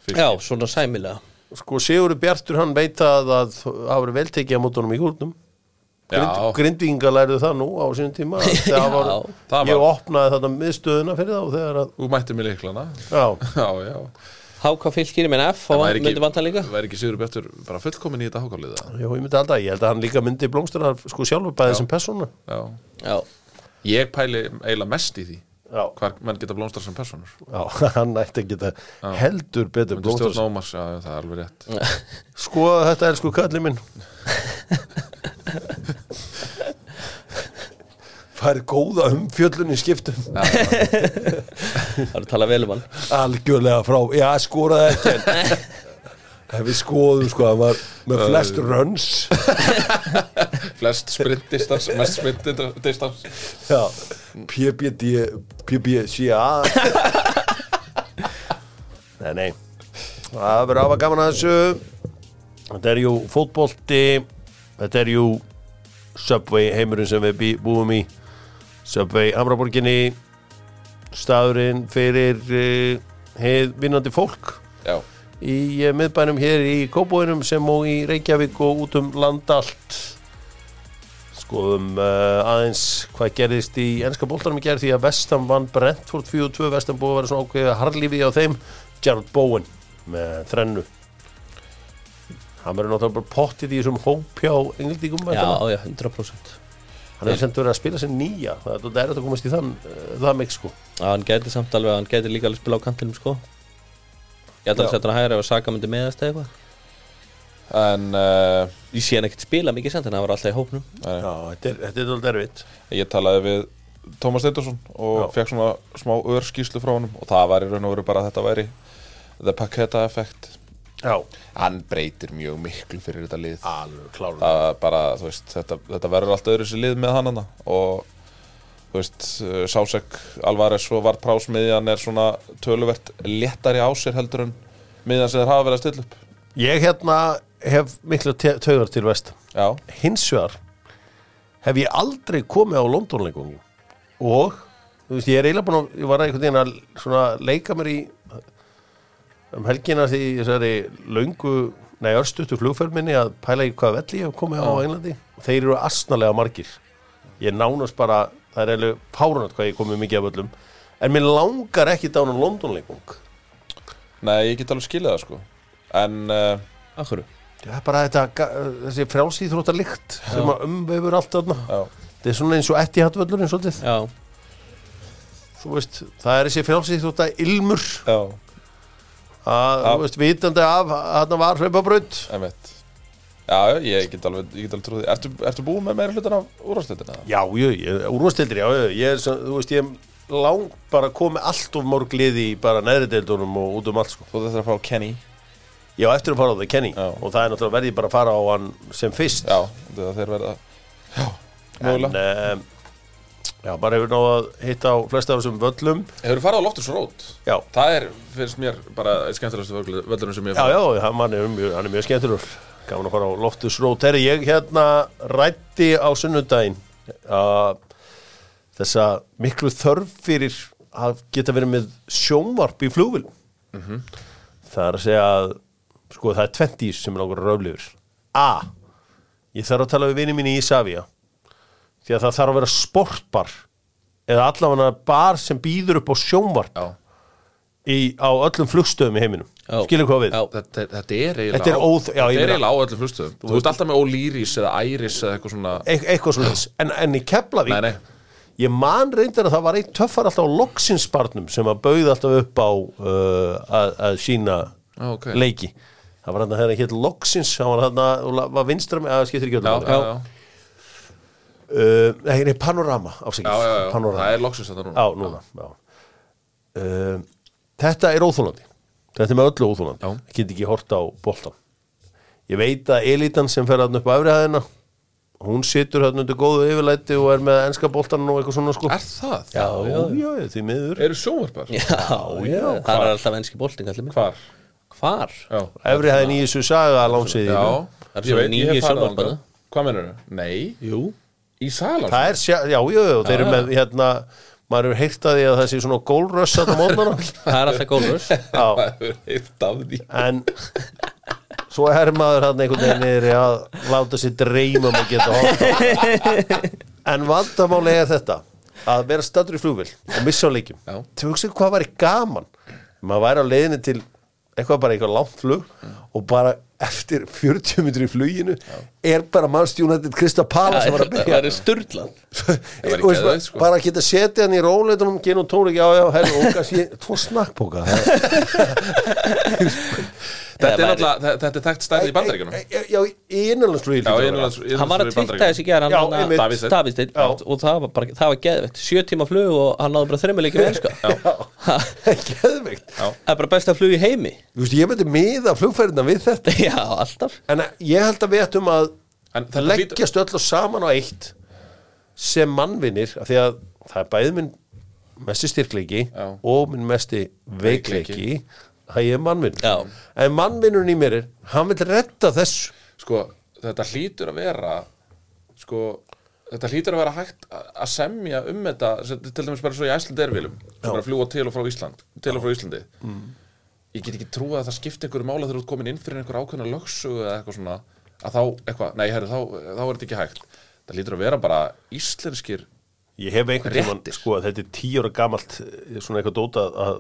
Fylkir. já, svona sæmilega sko Sigurður Bjartur hann veit að að það voru veltekið á mótunum í húrnum Já. grindvinga lærðu það nú á sínum tíma að það Já, var, það var- ég opnaði þetta miðstöðuna fyrir þá þegar að Þú mættir mig líklana já, Já, já HK fylgir menn F og væri myndi vanta líka væri ekki Sigur Bjartur bara fullkomin í þetta hákáliða já, ég myndi alltaf, ég held að hann líka myndi blómstara sko sjálfur bæðið sem persóna Já já, Ég pæli eiginlega mest í því Já. Hvar menn geta blómstar sem personur já, hann ætti að geta heldur betur Myndi blómstara stjórn Ómars, já, já, það er alveg rétt sko þetta elsku kallið minn fær góða umfjöllun í skiptum það er að tala vel um hann algjörlega frá, já skoraði ekki en ef við skoðum sko hann var með flest runs Flest sprintdistans, mest sprintdistans já, PBD PBCA nei, nei það verður afa gaman að þessu þetta er jú fótbolti þetta er jú Subway heimurinn sem við bý- búum í Subway Hamraborginni staðurinn fyrir uh, heið vinnandi fólk Já, í eh, miðbænum hér í Kóbóinum sem og í Reykjavík og út um land allt skoðum uh, aðeins hvað gerðist í ennska bóltanum í gerð því að Vestam vann Brentford 4-2 Vestam búið að vera svona ákveðið harlífi á þeim Gerald Bowen með þrennu hann verður náttúrulega bara pottið í þessum hópjá englendingum já, væntanlega. já, 100% hann er sendt verið að spila sem nýja það er þetta erfitt að komast í þann uh, það mikið sko já, hann gæti samt alveg, hann gæti líka alveg spila á kantinum sko ég ætla Já. að setja hann hægra ef að Saka myndi meðast eða eitthvað en uh, ég sé hann ekkert spila mikið samt en hann var alltaf í hópnum já, þetta er, þetta er alveg erfitt ég talaði við Tómas Steindorsson og Já. fekk svona smá örskíslu frá honum og það var í raun og veru bara að þetta væri The Paqueta Effect já, Hann breytir mjög miklu fyrir þetta lið alveg klárum það er bara, þú veist, þetta, þetta verður alltaf öðru sér lið með hann hana og þú veist, eh, Sásek Alvarez og Vart Prás miðjan er svona töluvert léttari á sér heldur en miðjan sem þeir hafa verið að stilla upp ég hérna hef miklu te- taugar til Vestam Já, hins vegar hef ég aldrei komið á Londonleikungin og þú veist, ég er eiginlega búin að ég var einhvern veginn að svona leika mér í um helgina því þessari löngu nei, örstuttu flugferminni að pæla í hvaða velli ég hef komið á Englandi þeir eru asnalega margir ég nánast bara, það er eiginlega párunat hvað ég hef komið mikið af öllum en mér langar ekki dán á Londonleikung nei, ég get alveg skilið það sko en uh, Akkur? það er bara þetta, ga- þessi frjálsýþróta lykt sem að umvefur allt þarna já, þetta er svona eins og etti hatt völlurinn svolítið Já, þú veist, það er þessi frjálsíþrótta ilmur já, að, Já. þú veist, vitandi af að þarna var hlaupabraut emitt Já, ég get alveg, ég get alveg trúið Ertu, ertu búið með meira hlutin af úrvarslutina? Já, ég, ég, úrvastildir, já, já, ég er sem, þú veist, ég er lang bara komið allt of mörg liði í bara neðri deildunum og út um allt, sko. Þú þetta er að fá Kenny Ég á eftir að fara á það, Kenny, Já. og það er náttúrulega verði ég bara að fara á hann sem fyrst. Já, þetta þeir verða Já, en, mögulega um, já, bara hefur náð að hitta á flesta af þessum völlum. Hefur farið á Loftus Road? Já, Það er, finnst mér, bara skemmtilegastu völlunum sem ég já, já, hann, hann, er, mjög, hann er mjög skemmtilegur. Gaman að fara á Loftus Road. Herri, ég hérna rætti á sunnudaginn að þessa miklu þörf fyrir að geta verið með sjónvarp í flugvilum. það er að segja að sko það er 20 sem er langar röflifur A ég þarf að tala við vinni mín í Ísafía því að það þarf að vera sportbar eða allavega bar sem býður upp á sjónvarp Já, í, á öllum flugstöðum í heiminum Já. skilur hvað við Já. þetta, er- þetta er eiginlega Þetta er á- óþ- já, ég Þetta er meina- eiginlega á öllum flugstöðum Þú veist alltaf með Ólýris eða Æris eða eitthvað svona Eit- eitthvað svona en, en í Keflavík Nei, nei. ég man reyndar að það var einn töffar alltaf á loksinsbarnum sem að bauði alltaf upp á uh, að, að sína Já, ok. leiki það var hann að hérna hétt loksins hann var hann að var vinstra með að skiptir ekki Já, öllum já, já, Uh, nei, nei, panorama, afsakið já, já, já. Panorama. Það er loksins þetta núna Já, núna já. Um, Þetta er óþólandi Þetta er með öllu óþólandi Já. Ég get ekki hort á boltan Ég veit að elitan sem fer hann upp á efrihæðina Hún situr hann undir góðu yfirlæti og er með enska boltan og eitthvað svona sko Er það? Já, já, já, því miður Eru sjónvarpar? já, já Það er alltaf enski bolting allir minn Hvar? Hvar? Já, Efrihæðin í þessu saga lánsið já Það er ég veit, svona ég hef nýju farið sjónvarpana. þangað. Hvað menur þau? Nei, Jú í salan Það er, sjá- já, já, já, þeir eru með hérna maður hefur heyrt að því að það sé svona gólröss að mótnana Það er alltaf gólfurs Já hefur heilt af því en svo er maður hann einhvern veginn niður í að láta sér dreyma um að geta horta en vandamáli er þetta að vera statur í flugvill og missa á leikjum Já. til hugsa hvað væri gaman maður væri á leiðinni til eitthvað bara eitthvað langt flug og bara eftir 40 minnur í fluginu er bara mannstjúnættið Krista Pala sem var að Það byrja er sturglað væri Þú veist, geðveikt, sko. bara að geta setið hann í róleitunum genið og tónleik, já já, herru, og kannski tvo snakkbóka Þetta er væri- alltaf, þetta er þekkt stærði í bandaríkunum já, í innanlandsflugi Já, líka bara. ég er Hann var að tvíta þessi gera Já, hann einmitt. Davíðsteinn. Davisteinn Já. og það var bara, það var geðvett sjö tíma flug og hann náði bara þreymur leikir enska Geðveikt Já. Það er bara besta flug í heimi Þú veist, ég myndi miða flugferðina við þetta Já, alltaf En ég held að við ættum að En þetta leggjast öll og saman á eitt sem mannvinir af því að það er bæði minn mesti styrkleiki Já. og minn mesti veikleiki að ég er mannvin Já. En mannvinurinn í mér er hann vil retta þessu sko, þetta hlýtur að vera sko, þetta hlýtur að vera hægt að að semja um þetta sem- til dæmis bara svo í Æsland erfilum sem er að fljúa til og frá Ísland til og frá Íslandi ég get ekki trúið að það skipti einhverju mála þegar þú ert komin inn fyrir einhver ákveðna lögsögu eða eitthvað svona að þá, eitthvað, nei herri, þá, þá er þetta ekki hægt það hlýtur að vera bara íslenskir Ég hef einhvern tímann, Réttir. sko, þetta er tíu ára gamalt eh, svona eitthvað dóta að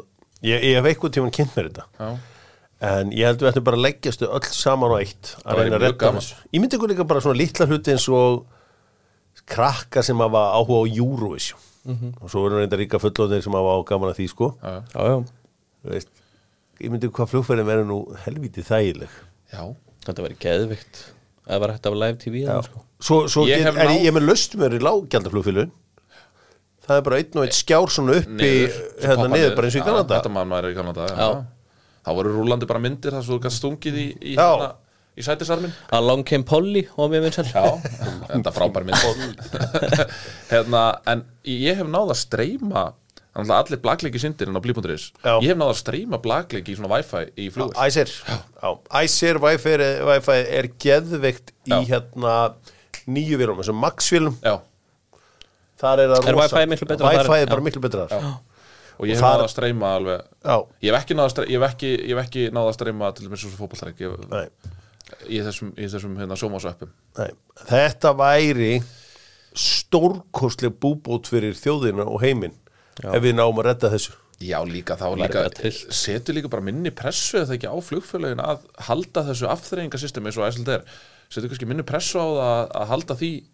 ég, ég hef einhvern tímann kynnt mér þetta já, En ég held við ættum bara að leggjast þau öll saman á eitt Það að reyna væri að mjög redda gaman. þessu. Ég myndi ykkur líka bara svona litla hluti eins og krakkar sem hafa áhuga á Eurovision Mhm. og svo verður reynda ríka fullóðir sem hafa á gaman að því sko. já, Já, já Þú Veist, ég myndi hvað flugferðin verður nú helvítið þægileg. já. Þetta væri geðvikt Það var hægt af live TV eða sko Svo, svo Ég ég hef get, en náð- ég ég er með löstumör í lággjaldaflugfélun. Það er bara einn og einn skjár svona upp í, Eh, Niður, svo hérna poppa niður, bara eins og í Já, Kanada. þetta mann maður í Kanada já. Já. þá voru rúlandi bara myndir þar svo þú gæst stungið í, í, Já. hérna, í sætisarmin Along Came Polly og mér vinsar Já, þetta er frábær mynd hérna, En ég hef náð að streyma þannig að allir blakleiki sindir en á blí.is Já. Ég hef náð að streyma blakleiki í svona wifi í flugvél Æsir Já, Æsir, Wi-Fi er, Wi-Fi er geðveikt í Já. hérna nýju vélum, þessum Max-vélum Já, þar er það Er rosa. Wi-Fi miklu betra Wi-Fi þar? er bara Já. miklu betra þar og ég hef Það- náð að streyma alveg Já. Ég hef ekki náð að streyma, ég hef ekki, ég hef ekki náð að streyma til þess að fótballtæk í Nei, þessum, í þessum hérna, sjómasöppum nei. Þetta væri stórkostleg búbót fyrir þjóðina og heiminn ef við náum að redda þessu Já, líka þá Væri líka, bara trillt. setur líka bara minni pressu eða það ekki á flugfélagin að halda þessu afþreyingasystemi eins og æsland er setur kannski minni pressu á það að- að halda því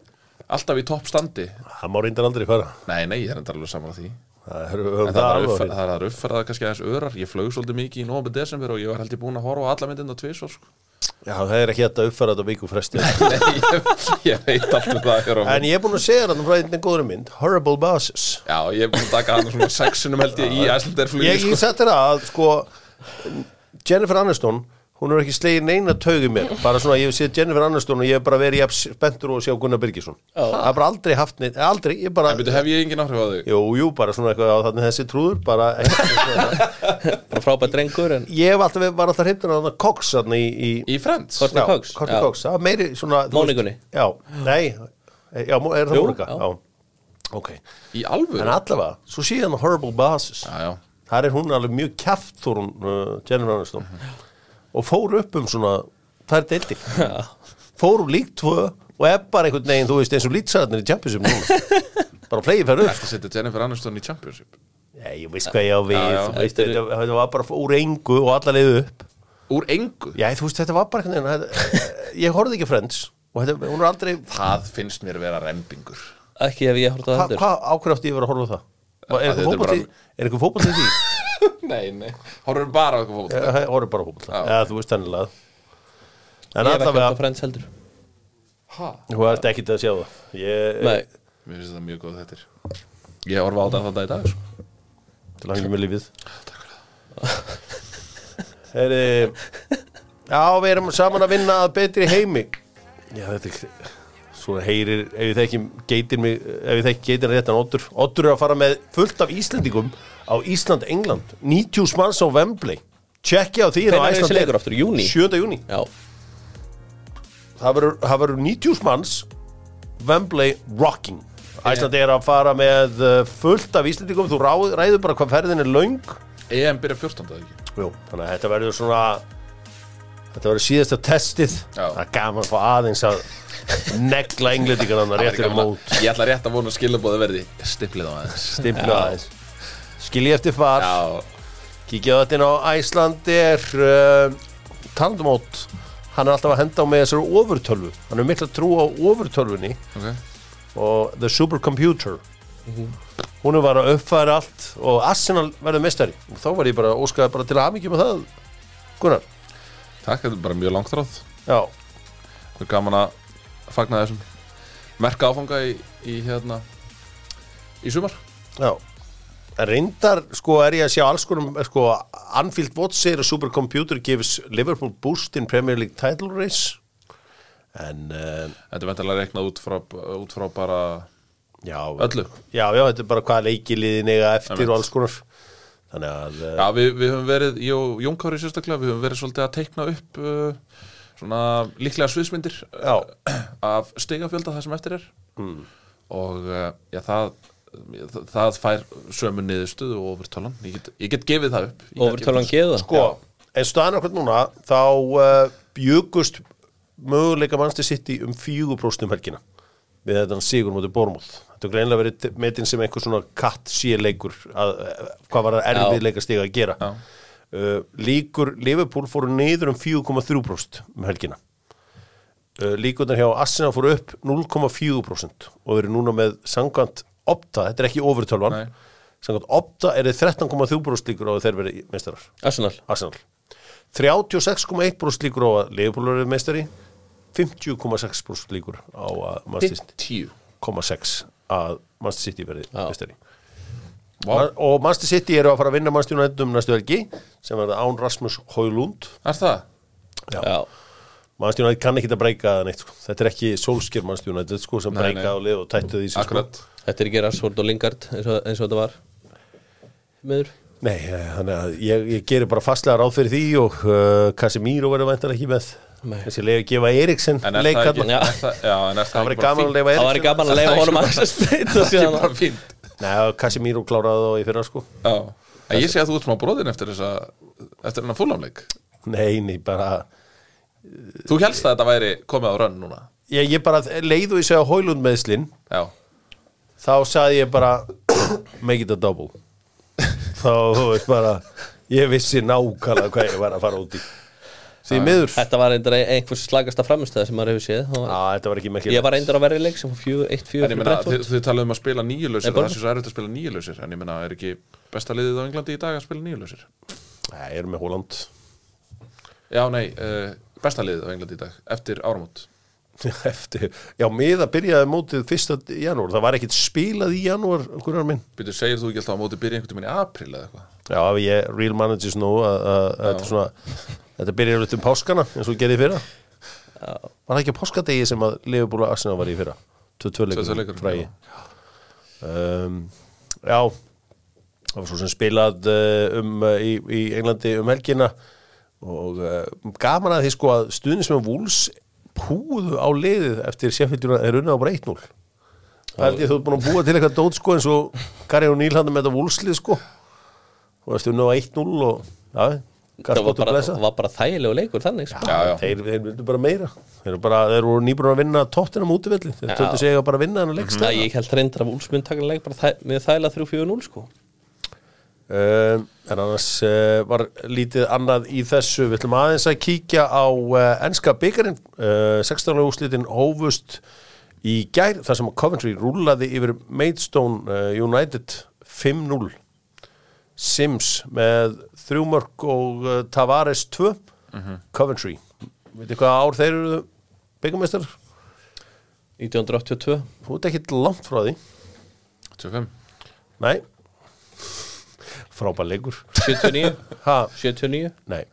alltaf í toppstandi Það má reyndar aldrei fara Nei, nei, ég er enda alveg saman á því Það er, um En það, var uppfæ- það var uppfæraða kannski aðeins örar Ég flög svolítið mikið í nóvember desember og ég var held ég búin að horfa á alla myndin á tvisvar sko. Já, það er ekki hægt að uppfæra þetta á viku fresti Nei, ég, ég veit alltaf það er á En mynd. ég er búin að segja þarna frá einnig góður mynd Horrible Bosses Já, ég er búin að taka hann svona sexunum held ég í æslandar flugi Ég, ég sko. satt þér að, sko Jennifer Aniston, hún er ekki slegin neina taug í mér, bara svona ég hef séð Jennifer Aniston og ég hef bara verið jafn spenntur og að sjá Gunnar Birgisson Það er bara aldrei haft neitt, aldrei, ég bara En byrju, hef ég engin áhrif á þig? Jú, jú, bara svona eitthvað á þannig þessi trúður bara, Bara frábæð drengur en ég hef alltaf var alltaf hreiftur að það Cox þarna í, í Í Friends? Hvort- já, Cox? Courtney Já. Cox, það var meiri svona þú veist- Mónikunni? Já, nei, já, mó- er það Jú, Mónika? já. Já, ok Í alvöru? En allavega, svo síðan Horrible Bosses Já, já þar er hún alveg mjög kjaft þór hún uh, Jennifer Aniston og fór upp um svona þær deildir fór hún líkt tvö og er bara einhvern veginn þú veist eins og lýtsararnir í Championship núna bara flegi fær upp Þetta setja Jennifer Aniston í Championship Nei, ég veist hvað ég á við Já, já. þú veist, þetta, þetta var bara úr engu og alla leið upp Úr engu Já, þú veist, þetta var bara einhvern veginn þetta- Ég horfði ekki á Friends og þetta, hún er aldrei Það finnst mér vera rembingur Ekki ef ég horfði á Hva- það Hvað hva, ákveð átti ég að vera að horfa á það? Var- Já, Er þetta er bara- eitthvað fótbolt í því? Nei, nei Horfum bara á eitthvað fótbolta Já, Það horfði bara fótbolt Já. Já, þú veist hennilega En Ég hef ekki hort á allavega, Friends heldur Ha? þú ert ekki að sjá það Ég, Nei, Mér finnst þetta mjög góð þettir Ég horfa á þetta þannig í dag sko. til hann með lífið Heri, Já, við erum saman að vinna að betri heimi Já, þetta er Svo heyrir, ef ég þekki geitir mig, ef ég þekki geitir réttan Oddur Oddur er að fara með fullt af Íslendingum á Ísland-England 90 manns á Wembley Tjekki á því Hvenær er þessi leikur aftur? Júní? 7. júni já, Það verður- það verður 90 manns Wembley Rocking Æsland er að fara með uh, fullt af Íslendingum Þú ráð, ræður bara hvað ferðin er löng EM byrja 14. eða ekki Jú, þannig að þetta verður svona Þetta verður síðasta testið Já. Það er gaman að fá aðeins að negla englendingarna rétt fyrir Gaman að- mót Ég ætla rétt að vona skilabóða verði Stiplið á aðeins Stimplu aðeins Skilji eftir far Já Kíkja þetta inn á Æslandir uh, Tandmót Hann er alltaf að henda á með þessari ofurtölvu Hann er mikla trú á ofurtölvunni Ok og The Supercomputer Hún er bara að uppfæra allt og Arsenal verður mestari og þá var ég bara óskaði bara til að hamingjum með það Gunnar, Takk, þetta er bara mjög langtráð já Það er gaman að fagna þessum merka áfanga í, í hérna í sumar Já Reyndar, sko, er ég að sjá alls konum sko, Anfield Watch segir að Supercomputer gives Liverpool boost in Premier League title race en uh, Þetta er vendarlega reiknað út frá, út frá bara já, öllu já, já, þetta er bara hvað leikiliðin eiga eftir Einmitt. og alls konar þannig að Já, uh, við, við höfum verið, ég og Jón Kári sérstaklega við höfum verið svolítið að teikna upp uh, svona líklega sviðsmyndir uh, Já. Mm. af stegafjölda það sem eftir er og uh, já, það það- það fær sömu niðurstöðu og overtölan, ég get, ég get gefið það upp Ég get overtölan gefið geða sko, en staðan okkur núna þá uh, bjögust möguleika mannstu sitt í um 4% um helgina við þetta sigur mútið Bormúð þetta er greinlega verið metin sem einhver svona katt sérleikur að, eh, hvað var það Já. erfið leikastig að gera Já. uh, líkur Liverpool fóru niður um 4,3% um helgina uh, líkurnar hjá Arsenal fóru upp 0,4% og eru núna með sangkvæmt opta, þetta er ekki Nei. ofurtölvan sangkvæmt opta eru 13,3% líkur á að þeir verið meistarar Arsenal Arsenal 36,1% líkur á að Liverpool verið meistari 50,6% líkur á að Manchester það. Tíu, 6 að Manchester City verið Já. meistari vá, og Manchester City eru að fara að vinna Manchester United um næstu helgi sem verða án Rasmus Hólund er það? já, Manchester United kann ekki að breyka það neitt sko. þetta er ekki solskjör Manchester United sko, sem Nei, nei. breyka á lið og tættu því sem sko. Akkurat þetta er ekki Rassford og Lingard eins og, eins og þetta var meður Nei, eh, þannig að ég, ég gerir bara fastlega ráð fyrir því og uh, Casemiro verður væntar ekki með Nei. þessi leið að gefa Eriksen En er leik það ekki, þarna. Já. er það, já, en er það það var ekki bara gaman að fínt? leifa það væri Eriksen gaman að leifa honum að steita Það er síðan bara fínt Nei, Casimiro kláraði þá í fyrra sko Já, en ég sé að þú ert smá bróðin eftir þessa eftir hennar fúlamleik Nei, nei, bara Þú helst að þetta væri komið á rönn núna Ég, ég bara leiðu ég segja Hólund meðslinn Já, Þá sagði ég bara Make it a double Þá, þú veist bara Ég vissi nákvæmlega hvað ég var að fara út í Því miður Já, Ah. þetta var reyndar ein- einhvers slagasta framistöð sem maður hefur séð Það var- þetta var ekki mekkir ég var reyndar að verja leik sem fór en ég meina, þið, 1-4 þið talaðu um að spila Nei, nýjulausir bara- það sé svo erfitt að spila nýjulausir en ég meina, er ekki besta liðið á Englandi í dag að spila nýjulausir? Nei, ég er með Hólund Já, nei, uh, besta liðið á Englandi í dag eftir áramót Eftir, já, miða byrjaði mótið fyrsta janúar, það var ekkit spilað í janúar, hvernig minn Býtur, segir þú ekki alltaf að móti byrja einhvern tímann í apríl eða eitthvað? Já, ég, real managers nú að, að, að þetta er svona, þetta byrjar út um páskana eins og gerði í fyrra Já. Var það ekki á páskadegi sem að Leifubúla Arsenal var í fyrra? 22 22 leikur leikurinn, frægi um, Já það var svo sem spilað uh, um, uh, í, í Englandi um helgina og uh, gaman að því sko að stuðnismenn Wolves púðu á liðið eftir séfildjuna er unnað á bara 1-0 Það held ég þú ert búin að búa til eitthvað dót sko eins og Gary og Níl hann með þetta Wolveslið sko og það stundu á 1-0 og já, það var gasskot og bara, blessa var bara þægilegu leikur þannig sko. Já, já. þeir, þeir vildu bara meira þeir, eru bara, þeir voru nýbúin að vinna tóttina mútivelli þeir Já. töldu sig að bara vinna hann að leiksta Æ, ég held reyndar af úlsmynd takanleik bara þæ, með þægilega 3-4-0 sko. Um, en annars uh, var lítið annað í þessu við ætlum aðeins að kíkja á uh, enska byggarinn uh, 16. úrslitin hófust í gær þar sem Coventry rúlaði yfir Maidstone uh, United 5-0 Sims með þrjúmörk og uh, Tavares 2 Coventry veitir hvað ár þeir eru byggarmeistar? 1982 Þú ert ekkit langt frá því 25 Nei frábær leikur 79 ha, 79 Nei,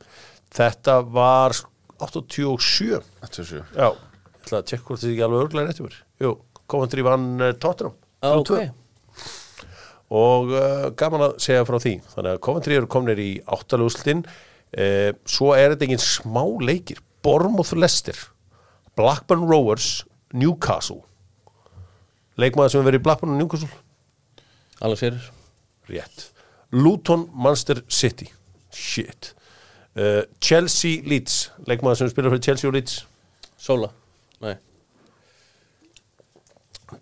þetta var sko 87 27 Já, ég ætla að tjekka hvort þið ekki alveg örglega rétt yfir Jú, Coventry vann uh, Tottenham 3-2. ah, ok Og uh, gaman að segja frá því Þannig að Coventry eru komnir í áttaluguslutin uh, Svo er þetta engin smá leikir Bournemouth Leicester Blackburn Rovers Newcastle Leikmaður sem hefur verið í Blackburn og Newcastle alveg sérir Rétt Luton Manchester City Shit uh, Chelsea Leeds Leikmaður sem spilar fyrir Chelsea og Leeds Sola nei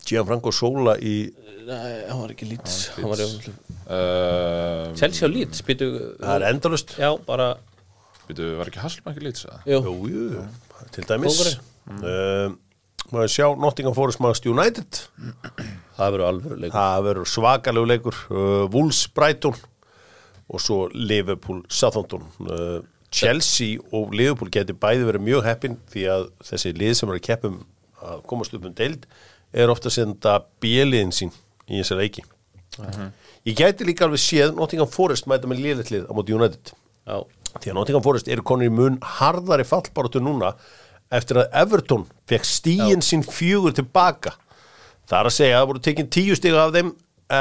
Gianfranco Sola í Nei, hann var ekki Leeds hann var ekki uh, Chelsea og Leeds býtu Það er endalust já bara Býtu, var ekki Hasselbank í lít Já, jú Jú, jú, til dæmis Kóngurinn. uh, Maður sjá Nottingham Forest Magast United það verður alvöru leikur Það verður svakalegu leikur uh, Wolves Brighton og svo Liverpool Southampton uh, Chelsea og Liverpool geti bæði verið mjög heppin því að þessi lið sem eru að keppum að komast upp um deild er ofta að senda bjöliðin sín í þessari leiki Ég gæti líka alveg séð Nottingham Forest mæta með liðletlið á móti United já því að Nottingham Forest eru konur í mun harðari fallbaratu núna eftir að Everton fekk stíin sín fjögur tilbaka það er að segja að það voru tekin tíu stiga af þeim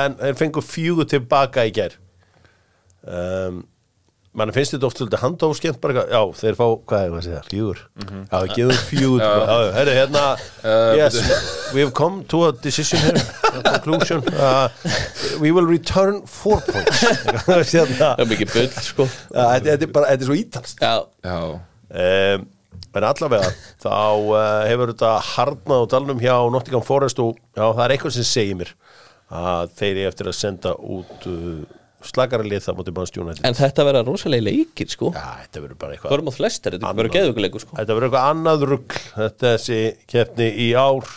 en þeir fengu fjögur tilbaka í ger um, mann finnst þetta oft svolítið handóskjönt bara, eitthvað, já, þeir fá, hvað er það að segja, fjögur já, við gefum fjögur tilbaka Mhm. já, herri, hérna, yes we have come to a decision here a conclusion uh, we will return four points hérna það er mikið bull sko Já, Þetta þetta er bara, þetta er svo ítalst já já um, En allavega, þá uh, hefur þetta harnað á dalnum hjá Nottingham Forest og já, það er eitthvað sem segir mér að þeir eru eftir að senda út uh, slagaralið það mútið mann stjónætti Já, en þetta verður rosalega leikir sko þetta verður bara eitthvað Bormóð Lester, þetta Annað. verður geðvökuleikur sko Þetta verður eitthvað annað rugl þetta er þessi keppni í ár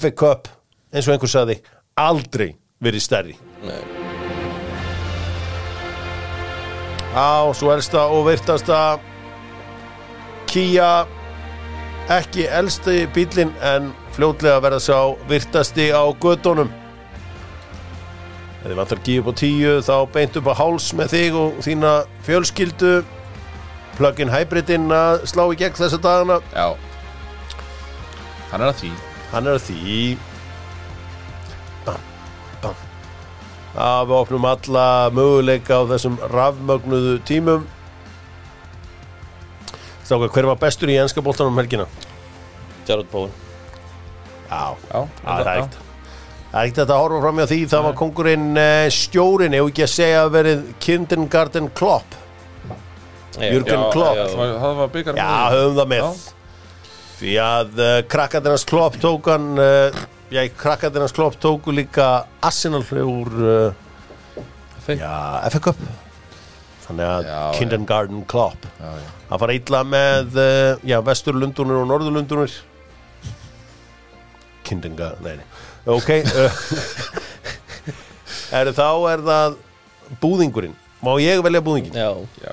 FA Cup, eins og einhver saði aldrei verið stærri Nei. Á, svo elsta og virtasta Kia ekki elsti bílinn en fljótlega verða sá virtasti á göttunum Ef þið vantar Kia upp á tíu þá beint upp á háls með þig og þína fjölskyldu plug-in hybridinn að slá í gegn þessa dagana Já Hann er að því Hann er að því Bam, bam Að við opnum alla möguleika á þessum rafmögnuðu tímum Stáka, hver var bestur í enska boltanum um helgina? Gerard Bowen Já, Já, það er ekkert Það er ekkert að þetta horfa framjá því Það var kongurinn eh, stjórinn Ef ekki að segja að verið Kindengarten Klopp Jürgen Já, Klopp. já, Það það var byggar Já, höfum það með Já. Því að uh, krakkatinans klopp tók hann uh, Já, krakkatinans klopp tóku líka Arsenal úr uh, FA. Já, FA Cup Þannig að Já, já. Kindergarten Klopp Já, já. Hann fara illa með uh, Já, vesturlundunir og norðurlundunir Kindinga, nei, nei Ok uh, Er þá er það Búðingurinn Má ég velja búðingin? Já, já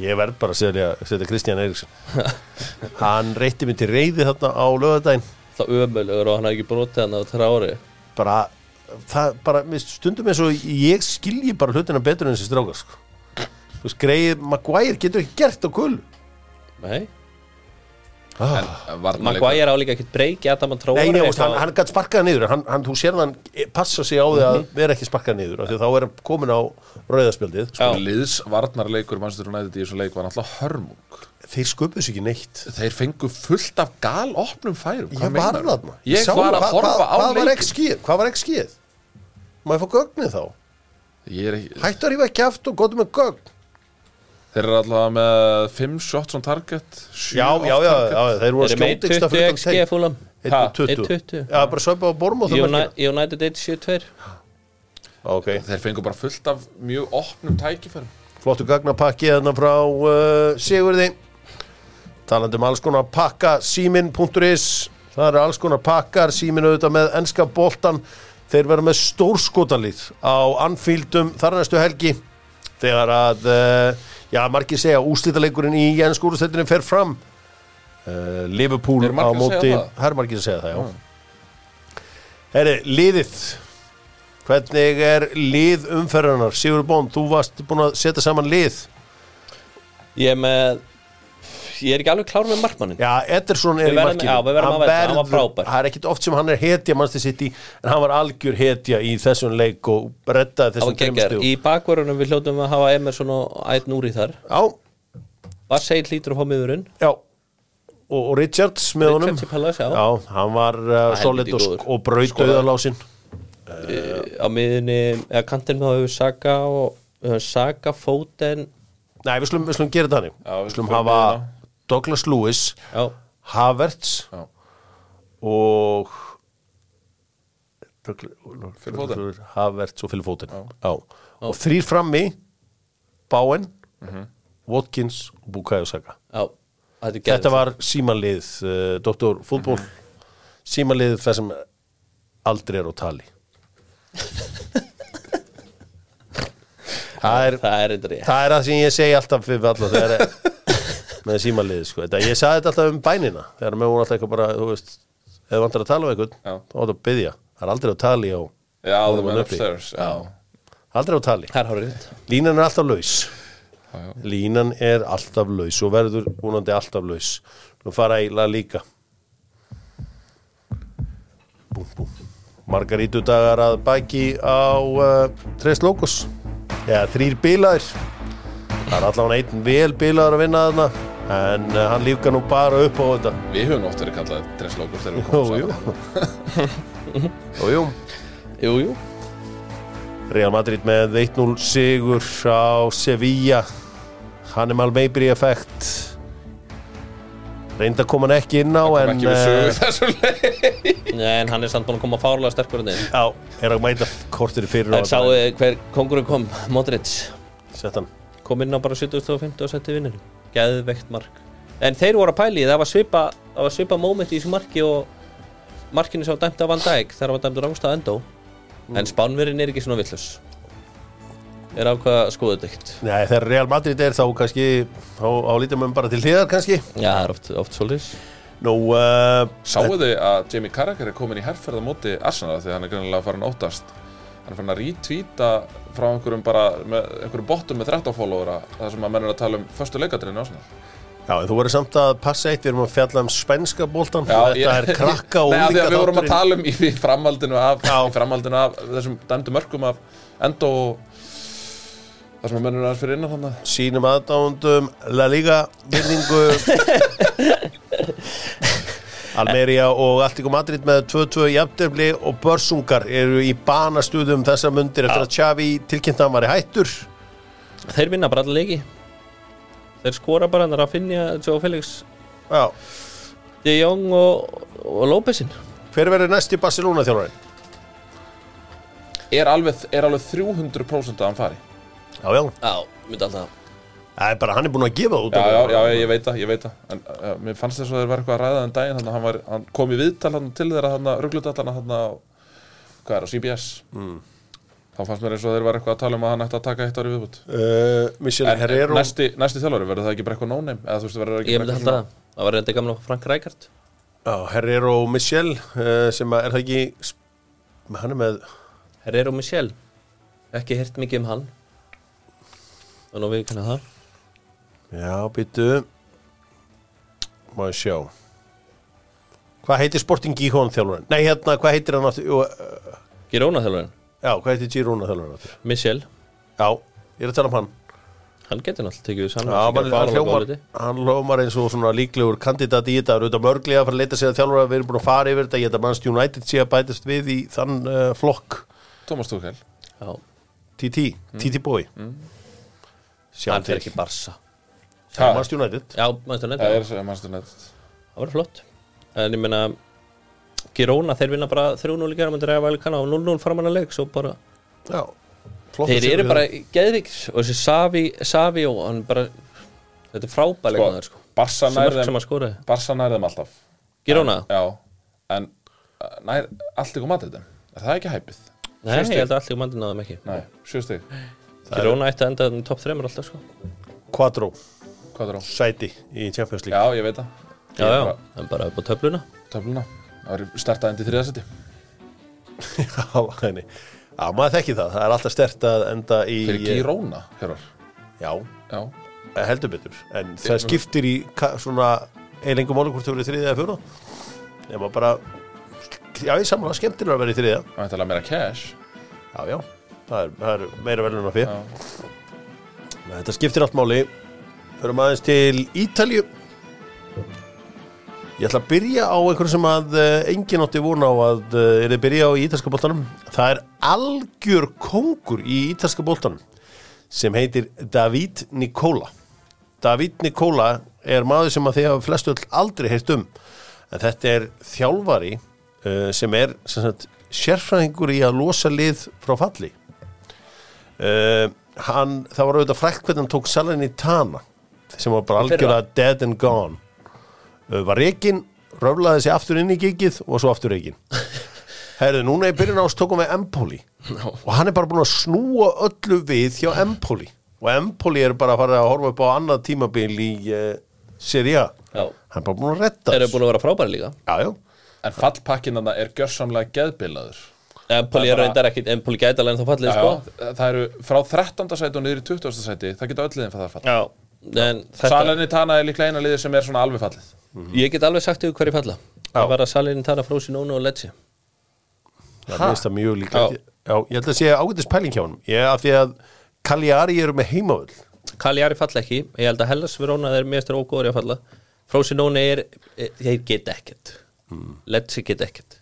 Ég verð bara að setja, setja Kristján Eiríksson Hann reytti mér til reyði þarna á lögadaginn það ömulegur og hann hafði ekki brotið hann á trári bara, það, bara mér stundum eins og ég skilji bara hlutina betur en þessi strákar sko. Þú veist, greið Maguire getur ekki gert á kul Nei, Ah, En varnarleikur Maguire á líka ekkert breyki Adam að trári Nei, nefnst, hann, hann gætt sparkað niður en hann, hann, þú sér að hann passa sig á því Mhm. að vera ekki sparkað niður af því að þá er hann komin á rauðaspjaldið Já. Liðs varnarleikur Manchester United í þessum leik var náttúrulega hörmung Þeir sköpuðu sig ekki neitt Þeir fengu fullt af galopnum færum Hvað Ég var meinarðu? þarna Ég sá var að það. horfa Hvað- á hvað var leikin ekki skýð? Hvað var ekki skýð? Má ég fá gögnið þá? Ég er ekki, Hættu að rífa kjæft og gott með gögn þeir eru allavega með 5 shots on target 7 Já, já, já, já, þeir voru Þeir að eru með skjóta yksta 20 fyrir XG utan fúlam teik 1.20 1.20. Já, bara söpa á borm og það merkir United 1.72 Ok, Þeir fengu bara fullt af mjög opnum tækifærum flottu gagnapakki þarna frá uh, Sigurði Talandi um alls konar pakka símin.is Það eru alls konar pakkar símin auðvitað með enska boltan Þeir verða með stórskotalið á Anfieldum þar næstu helgi Þegar að, uh, já, margir segja úslítaleikurinn í Jens Úrstættinni fer fram uh, Liverpool Eru margir á að segja móti það? Mm. Hermargir að segja það, já Herri, liðið Hvernig er lið umferðarnar? Sigur Bón, þú varst búin að setja saman lið Ég er með Ég er ekki alveg klár með markmannin Já, Ederson er Við í verðum- markinu já, við verðum að veita, hann var frábær. Það er ekkit oft sem hann er hetja, mannstu sitt í En hann var algjör hetja í þessum leik og reddaði Það þessum var geggar Í tveimur stigum. bakvörunum við hljótum að hafa Emerson og Ætt Núri þar Já, Var segil hlýtur að fá miðurinn já Og, og Richards með honum Richards í Palace, já. hann var uh, helviti solid og, góður. og braut auðalásin Á miðunni Eða kantinn þá hefur Saga og við höfum Saga, Foden Nei, við slum, við slum gera þannig Já, við Við slum förum hafa við það. Douglas Lewis Já, Havertz Já. og Phil Foden. Havertz og Phil Foden Já. og þrýr frammi Báen Watkins og Bukayo Saka já Þetta, er þetta geðveikt. var símanlið uh, Dr. Fútból símanlið þar sem aldrei er á tali það er Það er endur ég það er það sem ég segi alltaf fyrir alla þegar með símaliði sko. Þetta, ég sagði þetta alltaf um bænina þegar með voru alltaf eitthvað bara þú veist, ef þú vantar að tala um einhvern Já. þá áttu að byggja, það er aldrei á tali á, Já, á það honum var uppi. upstairs Já, aldrei á tali, Það er hárið línan er alltaf laus já, já. línan er alltaf laus og verður vonandi alltaf laus nú fara í La Liga búm búm margarítu dagar að bæki á uh, Tres Logos eða þrýr bilaðir það er allavega einn vel bilaður að vinna þarna en uh, hann lífgar nú bara upp á þetta Við höfum oft verið kallað dresslókur þegar við Jú, komum saman jú. og jú Jú, jú Real Madrid með 1-0 sigur á Sevilla Hannibal Mabry effekt reynda kom hann ekki inn á Það kom en eh, ekki við sögu í þessum leik Nei, en hann er samt búin að koma fárlega sterkur en þeir á, er að mæta kortir fyrir En sáu þið hver kongurinn kom, Modric sett hann kom inn á bara 75 og setti vinninu Geðveikt mark En þeir voru að pæli, það var svipa það var svipa moment í þessu marki og markinu sem var dæmt af Van Dijk þegar hann var dæmt af Rángstað Endó En Spánverinn er ekki svona villus Er ákvað skoðudykt Nei, þegar Real Madrid er þá kannski á, á lítið mögum bara til hliðar kannski Já, það er oft, oft svolis Nú, uh, Sáu þið að Jamie Carragher er komin í herrferð á móti Arsenal því að hann er greinilega farin að óttast Hann er farin að retweeta frá einhverjum bara með, einhverjum bottum með 13 followera þar sem að menn er að tala um föstu leikadrinu á Arsenal já, en þú verður samt að passa eitt við erum að fjalla um spænska bóltan Já, þetta ég- er krakka og Nei, af því úlinga að við vorum að þátturinn. tala um í í framhaldinu af, í framhaldinu af þessum dæmdu mörkum af Endo og þar sem að menn er aðeins fyrir innan hann sínum aðdándum La Liga virðingu Almeria og Alltíku Madrid með 2-2 jafndefli og Börsungar eru í banastuðum þessa mundir eftir að Xavi tilkynnt að hann var í hættur Þeir vinna bara allir leiki Þeir skora bara hann Rafinha, Joe Felix Já. De Jong og, og Lópezinn Hver verður næsti Barcelona þjálfarinn? er alveg, er alveg 300% að hann fari Já, já, Já, myndi alltaf það er bara hann er búin að gefa það út Já, á- já, já, ég veit það, ég veit það En uh, mér fannst þess að þeir var eitthvað að ræða þann daginn Þannig að hann, var, hann kom í viðtal hann til þeirra Þannig að rugglutatana hann á Hvað er á CBS Þá fannst mér eins og þeir var eitthvað að tala um að hann ætti að taka eitt ári viðbútt uh, Michel En Herrero næsti, næsti þjálfari, verður það ekki bara eitthvað no-name Eða þú veist, verður það ekki Ég bara myndi eitthvað alltaf það Það var reynda gamla Frank Rijkaard já, Herrero og Michel uh, sem að er það ekki sp- hann er með Herrero Michel ekki hirt mikið um hann og nú við kannar það já, býtu má ég sjá hvað heitir Sporting Gijón þjálfarinn? Nei, hérna, hvað heitir hann aftur? Jú, uh, Girona þjálfurinn, Já, hvað heitir Girona þjálfarinn aftur? Michel Já, ég er að tala um hann hann getur náttúrulega tekið við Já, saman hann, hann, hljómar, hann hljómar eins og svona líklegur kandidat í þetta, Það eru auðvitað mörglega að fara að leita sér að þjálfara við erum búin að fara yfir þetta, ég held að mannst United sé að bætast við í þann uh, eh, flokk Thomas Tuchel já, TT, TT Boy Sjá Hann Mm. fer til ekki í barsa Það Manchester United Já, mannstu neitt það Það er sér Manchester United var flott En ég meina Girona, þeir vinna bara 3-0 í gera Möndir eða væli kanna á 0-0 framanna leik Svo bara Já, flott að Þeir sjá eru við bara það. geðvíks Og þessi Savi, Savi og hann bara Þetta er frábælega sko, sko. Barsa Þessi nær mörg þeim sem að skoraði Barsa nær þeim alltaf Girona? Já, en uh, nær allt ykkur matið þeim Er það ekki hæpið? Nei, ég held að allir mandir náðum ekki Nei, sjö stig Girona ætti að enda um top 3 alltaf sko Quattro, Hvað er á? sæti í Champions League Já, ég veit það Já, já, en bara upp á töfluna Töfluna Það er startað endi þriðasetti Já, henni Já, maður þekki það, það er alltaf stert að enda í eh, Fyrir Girona, hérvar Já, eh, Já, heldur betur En það skiptir í ka- svona eilengum máli hvort þau verið þriðið eða fjóra Nefna bara Já, ég samla, skemmtilega að vera í þriðja það er meira cash Já, já, það er, það er meira velun að fyrir Já, Þetta skiptir allt máli Förum aðeins til Ítalju Ég ætla að byrja á einhverju sem að eh, enginn átti vona á að eh, er að byrja á í ítalska boltanum Það er algjör kongur í ítalska boltanum sem heitir David Nicola David Nicola er maður sem að þið hafa flestu öll aldrei heyrt um en þetta er þjálfari uh, sem er sem sagt, sérfræðingur í að losa lið frá falli uh, hann, það var auðvitað frækt hvernig hann tók Salernitana sem var bara Í fyrra. algjörlega dead and gone uh, var reygin, röflaði sig aftur inn í gigið og svo aftur reygin Herðu, núna í byrjun ás tókum við Empoli og hann er bara búin að snúa öllu við hjá Empoli og Empoli er bara að fara að horfa upp á annað tímabil í uh, Serie A Já. hann er bara búin að retta Þeir eru þessu. búin að vera frábæri líka Já, já, En fallpakkinana er gjörsamlega geðbilaður Empoli Það er er bara- reyndar ekkit Empoli gæti alveg en þá fallið sko Já, það eru frá 13. sæti og niður í 20. sæti Það geta öll liðin fyrir það fall Já En þetta, Salernitana er líklega eina liðið sem er svona alveg fallið ég get alveg sagt yfir hverju falla Það var að Salin Tana frósi Nónu og Letsi það minnst það mjög líka Já. já. ég held að sé ágætis pæling hjá hann ég, af því að Kaljari eru með heimavöll Kaljari falla ekki, ég held að Hellas Verona þeir mestur ógóður að falla Frósi Nónu er, e, þeir get ekkert Letsi get ekkert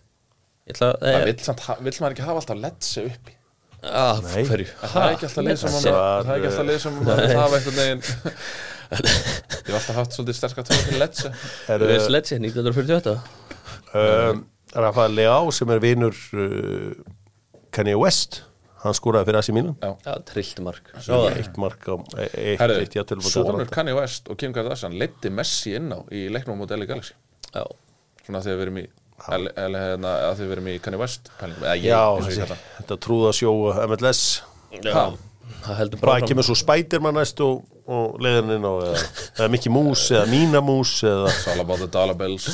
Ég ætla Eh. Hmm. Það að það er vill, samt, ha- vill maður ekki hafa alltaf letsi uppi Ah, Af Nei. hverju? Það er ekki alltaf lið sem að maður Var, eh, Það er ekki alltaf lið sem að maður vill hafa einhvern veginn Ég hef alltaf haft svolítið sterska tóra fyrir letsi er, Við erum Letsi 1948 um, Rafa Leá sem er vinur uh, Kanye West hann skúraði fyrir Asi Mílan Já, trillt mark Svo það eitt mark á e- eitt, eitt, eitt, Herðu, jafntefli á Sónur Atalanta. Kanye West og Kim Kardashian leiddi Messi inn á í leiknum á móti LA Galaxy Já, Svona þegar við erum í L- L- hérna, að þið verum í Kanye West pælingum, eða ég, Já, eins og ég þessi, kalla þetta trúða sjó MLS Já. það heldur bara Hvað kemur svo Spiderman næst og, og leiðan inn á eða, eða Mickey Mouse eða Mína Moose eða It's all about the dollar bills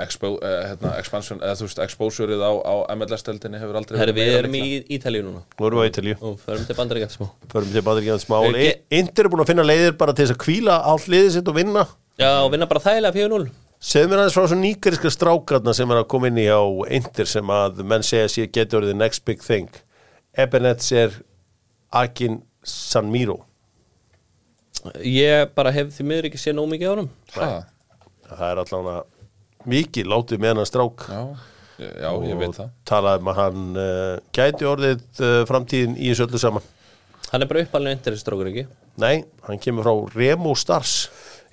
Expo, uh, hérna, expansion, eða þú veist exposureið á, á MLS-deldinni hefur aldrei Herri, við meira erum í líklega. Ítalíu núna Nú erum við á Ítalíu, og förum til bandaríkja smá förum til Badrikjans mál Við ge- Indir er búin að finna leiðir bara til þess að kvíla allt liðið sitt og vinna Já, og vinna bara þægilega 4-0 Segðu mér aðeins frá svo nýgariska strákarna sem er að koma inn í á Indir sem að menn segja sér getur orðið next big thing Ebenets er Akin San Miro Ég bara hef því miður ekki séð nóg mikið á honum Ha, Það er allan að mikið látið með hann strák já, já, ég veit það talaði um að hann uh, gæti orðið uh, framtíðin í þessu öllu saman Hann er bara uppalinn interestrókur ekki Nei, hann kemur frá Remo Stars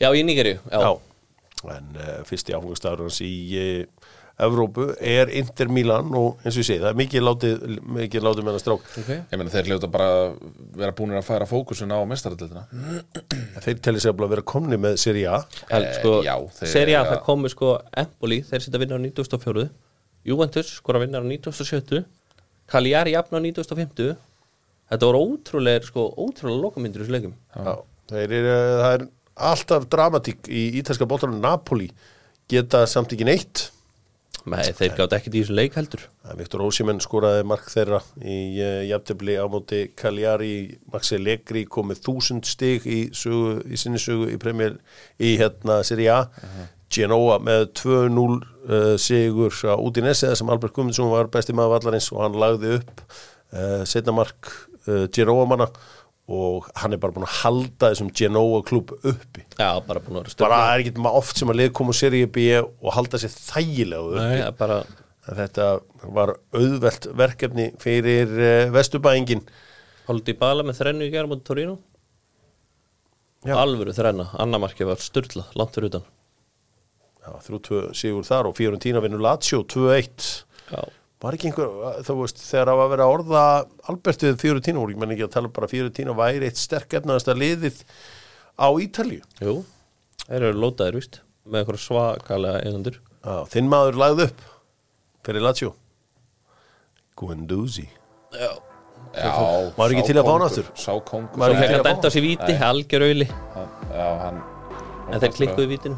Já, í Nígeríu Já, Já, en uh, fyrsti áfengastafur hans í uh, Evrópu er Inter Milan og eins og ég segi, það er mikið látið, mikið látið með hann strák okay. Ég meina þeir hljóta bara að vera búinir að færa fókusin á mestaraldeldina Þeir telli sig að vera komni með Serie A en, sko, já, þeir- Seri A, já. það komu sko Empoli, þeir setja að vinna á 94 Juventus, skora að vinna á 97 Cagliari jafn á 95 Þetta voru ótrúlega sko, ótrúlega lokamyndur í þessu leikum Já. Þeir eru, eh, það er alltaf dramatík í ítalska bóttanum Napoli geta samt ekki neitt Nei, þeir gátt ekkert í þessu leik heldur Það er Viktor Ósimenn skoraði mark þeirra í uh, jafntefli á móti Kaljari, Maxi Legri komið þúsund stig í, sögu, í sinni sögu í premjör í hérna Serie A, Genoa með 2-0 uh, sigur á Udinese þar sem Albert Gumundsson var besti maður vallarins og hann lagði upp uh, setna mark uh, Genoa manna og hann er bara búin að halda þessum Genoa klub uppi Já, bara búin að vera bara stöfna er ekki oft sem að lið koma úr Serie B og halda sér þægilega uppi Nei, það er bara að þetta var auðvelt verkefni fyrir uh, Vesturbæingin Haldi Bala með þrennu í gerðum á Torino Já. Alvöru þrenna, annamarki var styrla langt fyrir utan Já, 3-2 sigur þar og 4-10 vinnur Lazio 2-1 Já, var ekki einhver, eh, þú veist, þegar það var að vera að orða Albert við 4-10 voru ekki menn ekki að tala bara 4-10 væri eitt sterk efnaðasta liðið á Ítalíu jú, þeir eru lótaðir víst með eitthvað svakalega einandur Já, þinn maður lagði upp fyrir Lazio Guendouzi Já Já, Var ekki sá til að fá hann kóngur, aftur? Sá kongur Var Nei, ekki hægt að að dæmta sér víti, algjör auðli Já, hann En þeir klikkuðu vítinu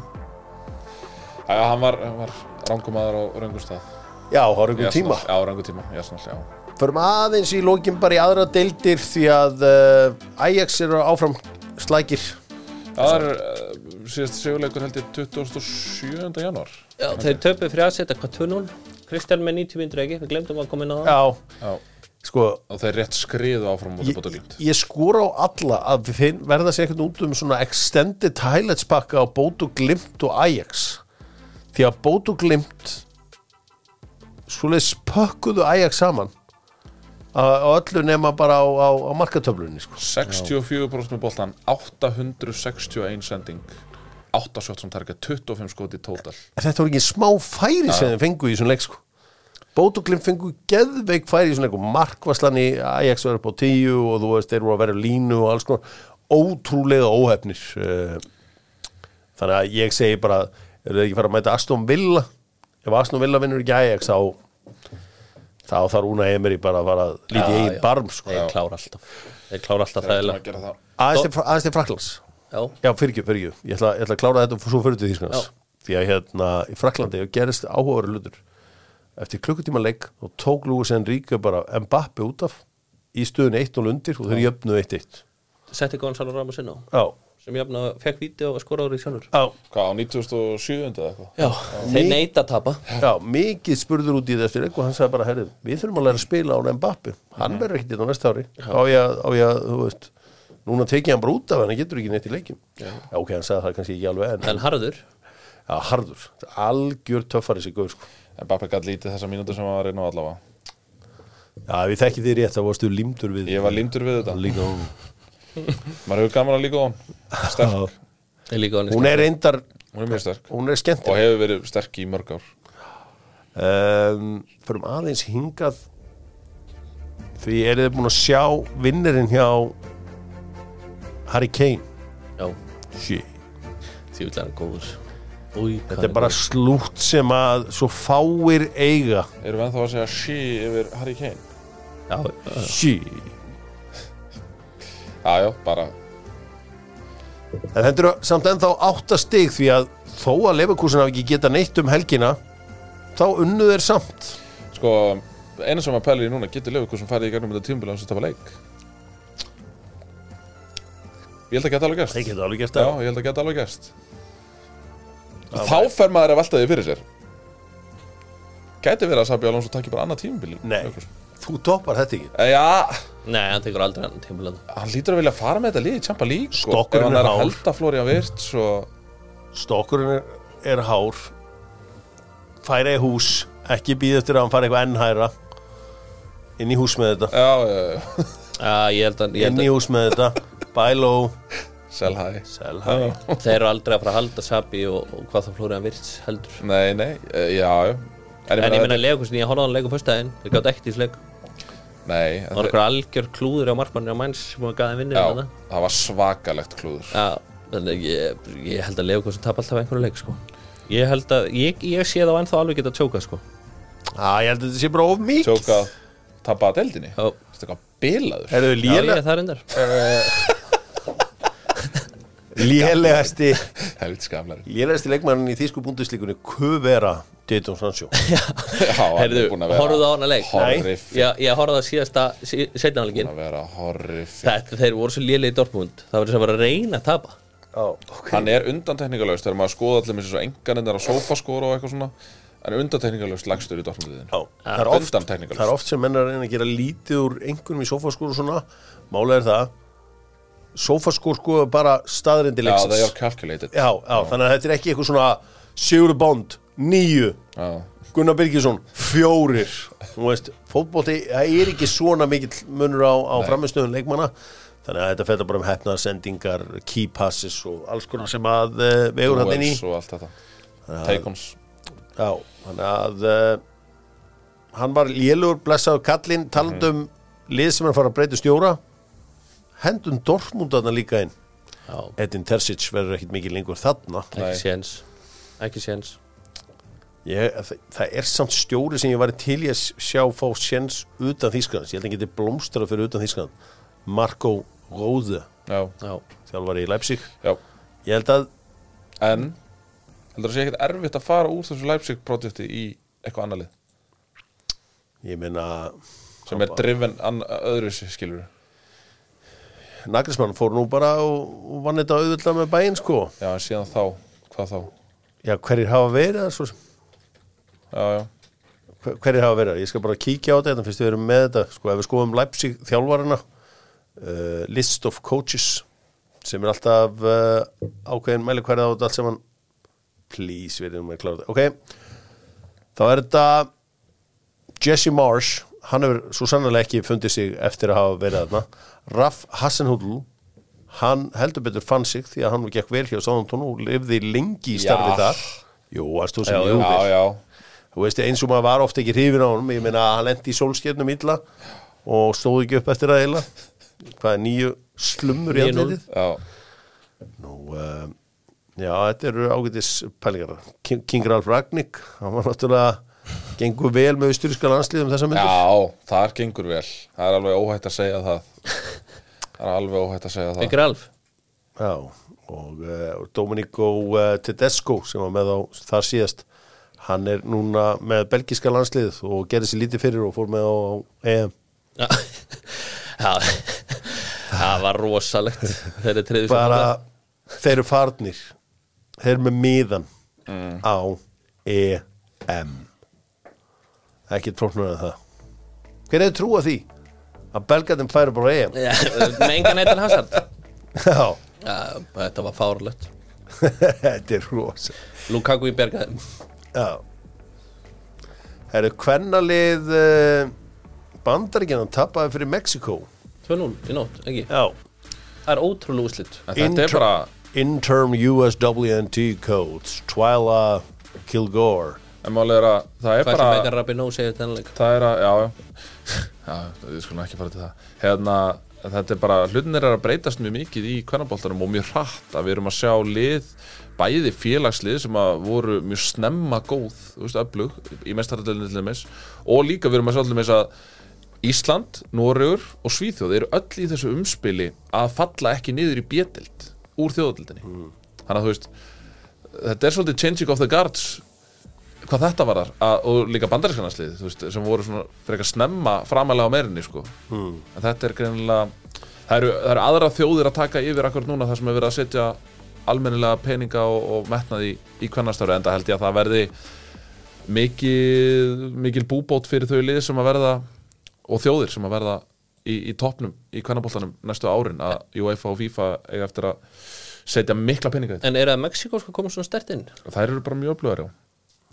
Já, hann var, hann var rangumadur á röngum stað Já, har einhver Í tíma Arsenal, Já, röngum tíma, já, svona, já Förum aðeins í lókin bara í aðra deildir því að uh, Ajax eru áfram slækir Það er uh, síðast sigurleikur held ég 27. janúar Já, þeir töpuðu fyrir aðsetta hvað 2-0 Kristján með 90 myndur ekki, við glemdum að koma inn á það Já, Já, sko og þeir rétt skriðu áfram út í Ég, bóta líkt ég skora á alla að við finn, verða sér eitthvað út um svona extended highlights pakka á Bótu Glimt og Ajax því að Bótu Glimt svoleiðis pökkuðu Ajax saman á á öllu nema bara á, á, á markatöflunni sko. 64% með boltan, 861 sending 8 shot som target, 25 skot í tótal þetta voru ekki smá færi sem þeim fengu í þessum leik sko. Bótu Glimt fengu geðveik færi í þessum leik og markvarslan í Ajax var upp á tíu og þú veist þeir voru að vera á línu og alls konar ótrúlega óhefnir eh, þannig að ég segi bara eru þeir ekki fara að mæta Aston Villa ef Aston Villa vinnur ekki Ajax þá þá þarf Una Emery bara að fara að líti Já, eigin já. barm sko. Þeir klára alltaf Þeir klára alltaf þægilega Þeir aðeins til- aðeins til Fraklands Já, Já, fyrirgjöf, fyrirgjöf. Ég ætla, ég ætla að klára þetta og svo fyrir til Þýskanans. Já. Því að hérna í Fraklandi gerist áhugaður hlutur. Eftir klukkutíma leik og tók Lúis Enríka bara Mbappi út af í stöðun 1-0 undir og þeir jöfnu 1-1. setti Gonzalo Ramos inn á Já. sem jafna fekk víti og skoraður í sjálfur Já. Hvað, á 97. eða eitthvað? Já, þeir neita að tapa Já, mikið spurður út í þetta eftir leik og hann sagði bara, herrið, við þurfum að læra að spila án Mbappi. Hann verður ekkert þetta á næsta ári. Á ég, að- á ég, að, þú veist, núna tekið hann bara út af hann, hann getur ekki neitt í leikjum. Já. ok, hann sagði það kannski ekki alveg en, En harður já, harður. Algjör töffari sig gauð, sko. En Bappi gætt lítið þessa mínútu sem hann var inn á allavega Já, við þekkið þið rétt, þá varstu limdur við Ég var lindur við þetta líka hún Maður hefur gaman að líka á hann Sterk, Þeir líka honum Hún er reyndar, hún er mjög sterk hún er skemmt Og hefur verið sterk í mörg ár um, Förum aðeins hingað Því eru þið búin að sjá vinnirinn hjá Harry Kane Já, Shit. því vil hann góður Új, Þetta er bara slútt sem að svo fáir eiga Erum við ennþá að segja she yfir Harry Kane? Já, já, Shit. Já, já, bara En þetta eru samt ennþá átta stig því að þó að Leverkusen hafi ekki geta neitt um helgina þá unnu þeir samt Sko, eina sem maður pælir í núna Getur lögur hversum farið í gegnum þetta tímbil Þannig að tapa leik Ég held að geta alveg gerst Þeir geta alveg gert Já, það ég held að geta alveg gerst Þá fer maður að velta því fyrir sér Gæti verið að Sabi Alonso takki bara annað tímbil Nei, þú toppar þetta ekki Já, Nei, hann tekur aldrei annan tímulega Eh, hann lítur að vilja fara með þetta lið í Champa League sko. Stokkurinn Ef hann er er að hár. halda Florian Virts og stokkurinn er, er hár færa í hús ekki býð eftir að hann fara eitthvað enn hæra inn í hús með þetta Já, já, já, Já, Ah, ég held að, ég inn í held hús með þetta bæló sel hæ sel hæ að Þeir eru aldrei að fara að halda Sabi og, og hvað það flóriðan virts heldur Mm. Nei, nei, eh, já, já En ég meina leikusin, ég horfði á hann leikum fyrstæðin Þeir gátt ekkert í sleik Nei, Það var þetta- einhver algjör klúður á markmanni á mæns sem var gæðin vinnir já, það var svakalegt klúður Já, þannig ég, ég held að Leifkvist tap alltaf einhverju leik sko Ég held að, ég, ég sé þá ennþá alveg geta tjóka sko ah, ég held að þetta sé bara of mikið Tjókað, tappaða deldinni Já, Þetta er eitthvað bilaður Herðu, já ég léle, er það reyndar lélegasti Helvits gamlari lélegasti leikmannin í þýsku búndislíkunni Kuvera Dayton Sancho Já, hann Herðu, er búin að vera horfðu á hana leik? Nei. Horrif Já, ég horfði að síðasta, sí, setna Búin hálfleikin að vera horrif Þetta, þeir voru svo lélegi í Dortmund Það var þess að bara að reyna að tapa oh, okay. Hann er undantekningalöst Þegar maður skoða allir með þessu enganinnar á sófaskóra og eitthvað svona Hann er undantekningalöst lagstur í Dortmundiðinu Já, það, er oft, undantekningarlaust. það er oft sem menn er að reyna að gera lítið úr einhverjum í sofaskór og svona málega er það sofaskór sko er bara staðrindi Já, leiksins það er calculated já, já, þannig að þetta er ekki eitthvað svona Sigurður Bond, nýju, já, Gunnar Birgisson, fjórir Þú veist, fótbolti, það er ekki svona mikill munur á, á framistöðun leikmanna Þannig að þetta fættar bara um hefnarsendingar, key passes og alls konar sem að uh, vegur hann inn í Duels og allt þetta Teikons Já, þannig að uh, hann var lélugur, blessaður kallinn, talandum mm lið sem er að fara að breyta stjóra Hendum Dortmund þarna líka inn Já, Edin Terzic verður ekkit mikið lengur þarna ekki séns Ekki séns ég, það, það er samt stjóri sem ég var til í að sjá fá séns utan Þýskands, ég held að hann geti blómstrað fyrir utan Þýskands, Marco Róðu, Já, Já, þjálfari í Leipzig já ég held að, En Heldur það sé ekkert erfitt að fara úr þessu Leipzig-projekti í eitthvað annað lið ég meina sem er driven öðruvísi, skilur Nagrismann fór nú bara og, og vann þetta auðvitað með bæinn sko Já, en síðan þá, hvað þá já, hverjir hafa verið það svo sem? Já, já, Hver- hverjir hafa verið, ég skal bara kíkja á þetta hérna fyrst við erum með þetta, sko, ef við skoðum Leipzig þjálfarina uh, list of coaches sem er alltaf uh, ákveðin mæli hverja á þetta allt saman please, við erum að klára þetta ok, þá er þetta Jesse Marsh hann hefur svo sannarlega ekki fundið sig eftir að hafa verið þarna Raff Hassenhudl hann heldur betur fann sig því að hann gekk vel hjá Sáðantón og lifði lengi í starfi Já. þar jú, varst þú sem já, jú já, já. þú veist eins og maður var ofta ekki hrifin á honum ég meina að hann lendi í sólskefnum illa og stóð ekki upp eftir að eila hvað er nýju slumur í 9-0. andlitið já. nú uh, já þetta eru ágætis pælingar King, King Ralf Ragnik hann var náttúrulega gengur vel með um austuríska landsliðum þessa myndir já, þar gengur vel Það er alveg óhætt að segja það Það er alveg óhætt að segja það ekki Ralf já og uh, Dominico uh, Tedesco sem var með á þar síðast hann er núna með belgiska landslið og gerði sér lítið fyrir og fór með á EM Já, Já. það var rosalegt Þeir eru treyðu bara þeir eru farnir þeir eru með miðan Mm. á E EM ekkert fróknur en um það hver hefur trúað því að belgatum færi bara á EM Með engan eitthvað hasard já, Já, þetta var fárlegt þetta er rosa Lukaku í bergaði já herru, hvernalið uh, bandaríkjanum tapaði fyrir Mexiko 2-0 í nótt, ekki? já Það er ótrúlega úslit En þetta er bara Interim USWNT codes Twyla Kilgore En málega er að það er Hvað sem Megan bara Rapinoe segir þennanleik Það er að, já, já Já, við skulum ekki fara til það Hérna, þetta er bara, hlutinir er að breytast mjög mikið í kvennaboltanum og mjög hratt að við erum að sjá lið bæði félagslið sem að voru mjög snemma góð, þú veist, öflug í mestaradölinni til dæmis og líka við erum að sjá til dæmis að Ísland, Noregur og Svíþjóð eru öll í þessu umspili að falla ekki niður í bjetild úr þjóðaldinni þannig að þú veist þetta er svolítið changing of the guards hvað þetta var þar og líka bandarískanarslið veist, sem voru svona frekar snemma framalega á meirinni sko. en þetta er greinilega það eru, það eru aðra þjóðir að taka yfir akkur núna þar sem er verið að setja almennilega peninga og, og metnaði í kvennastöru en það held ég að það verði mikil, mikil búbót fyrir þau lið sem að verða og þjóðir sem að verða í, í toppnum í kvennaboltanum næstu árin að UEFA og FIFA eiga eftir að setja mikla peninga í þetta. En er það Mexiko sko komið svona stert inn? og þær eru bara mjög öflugar já.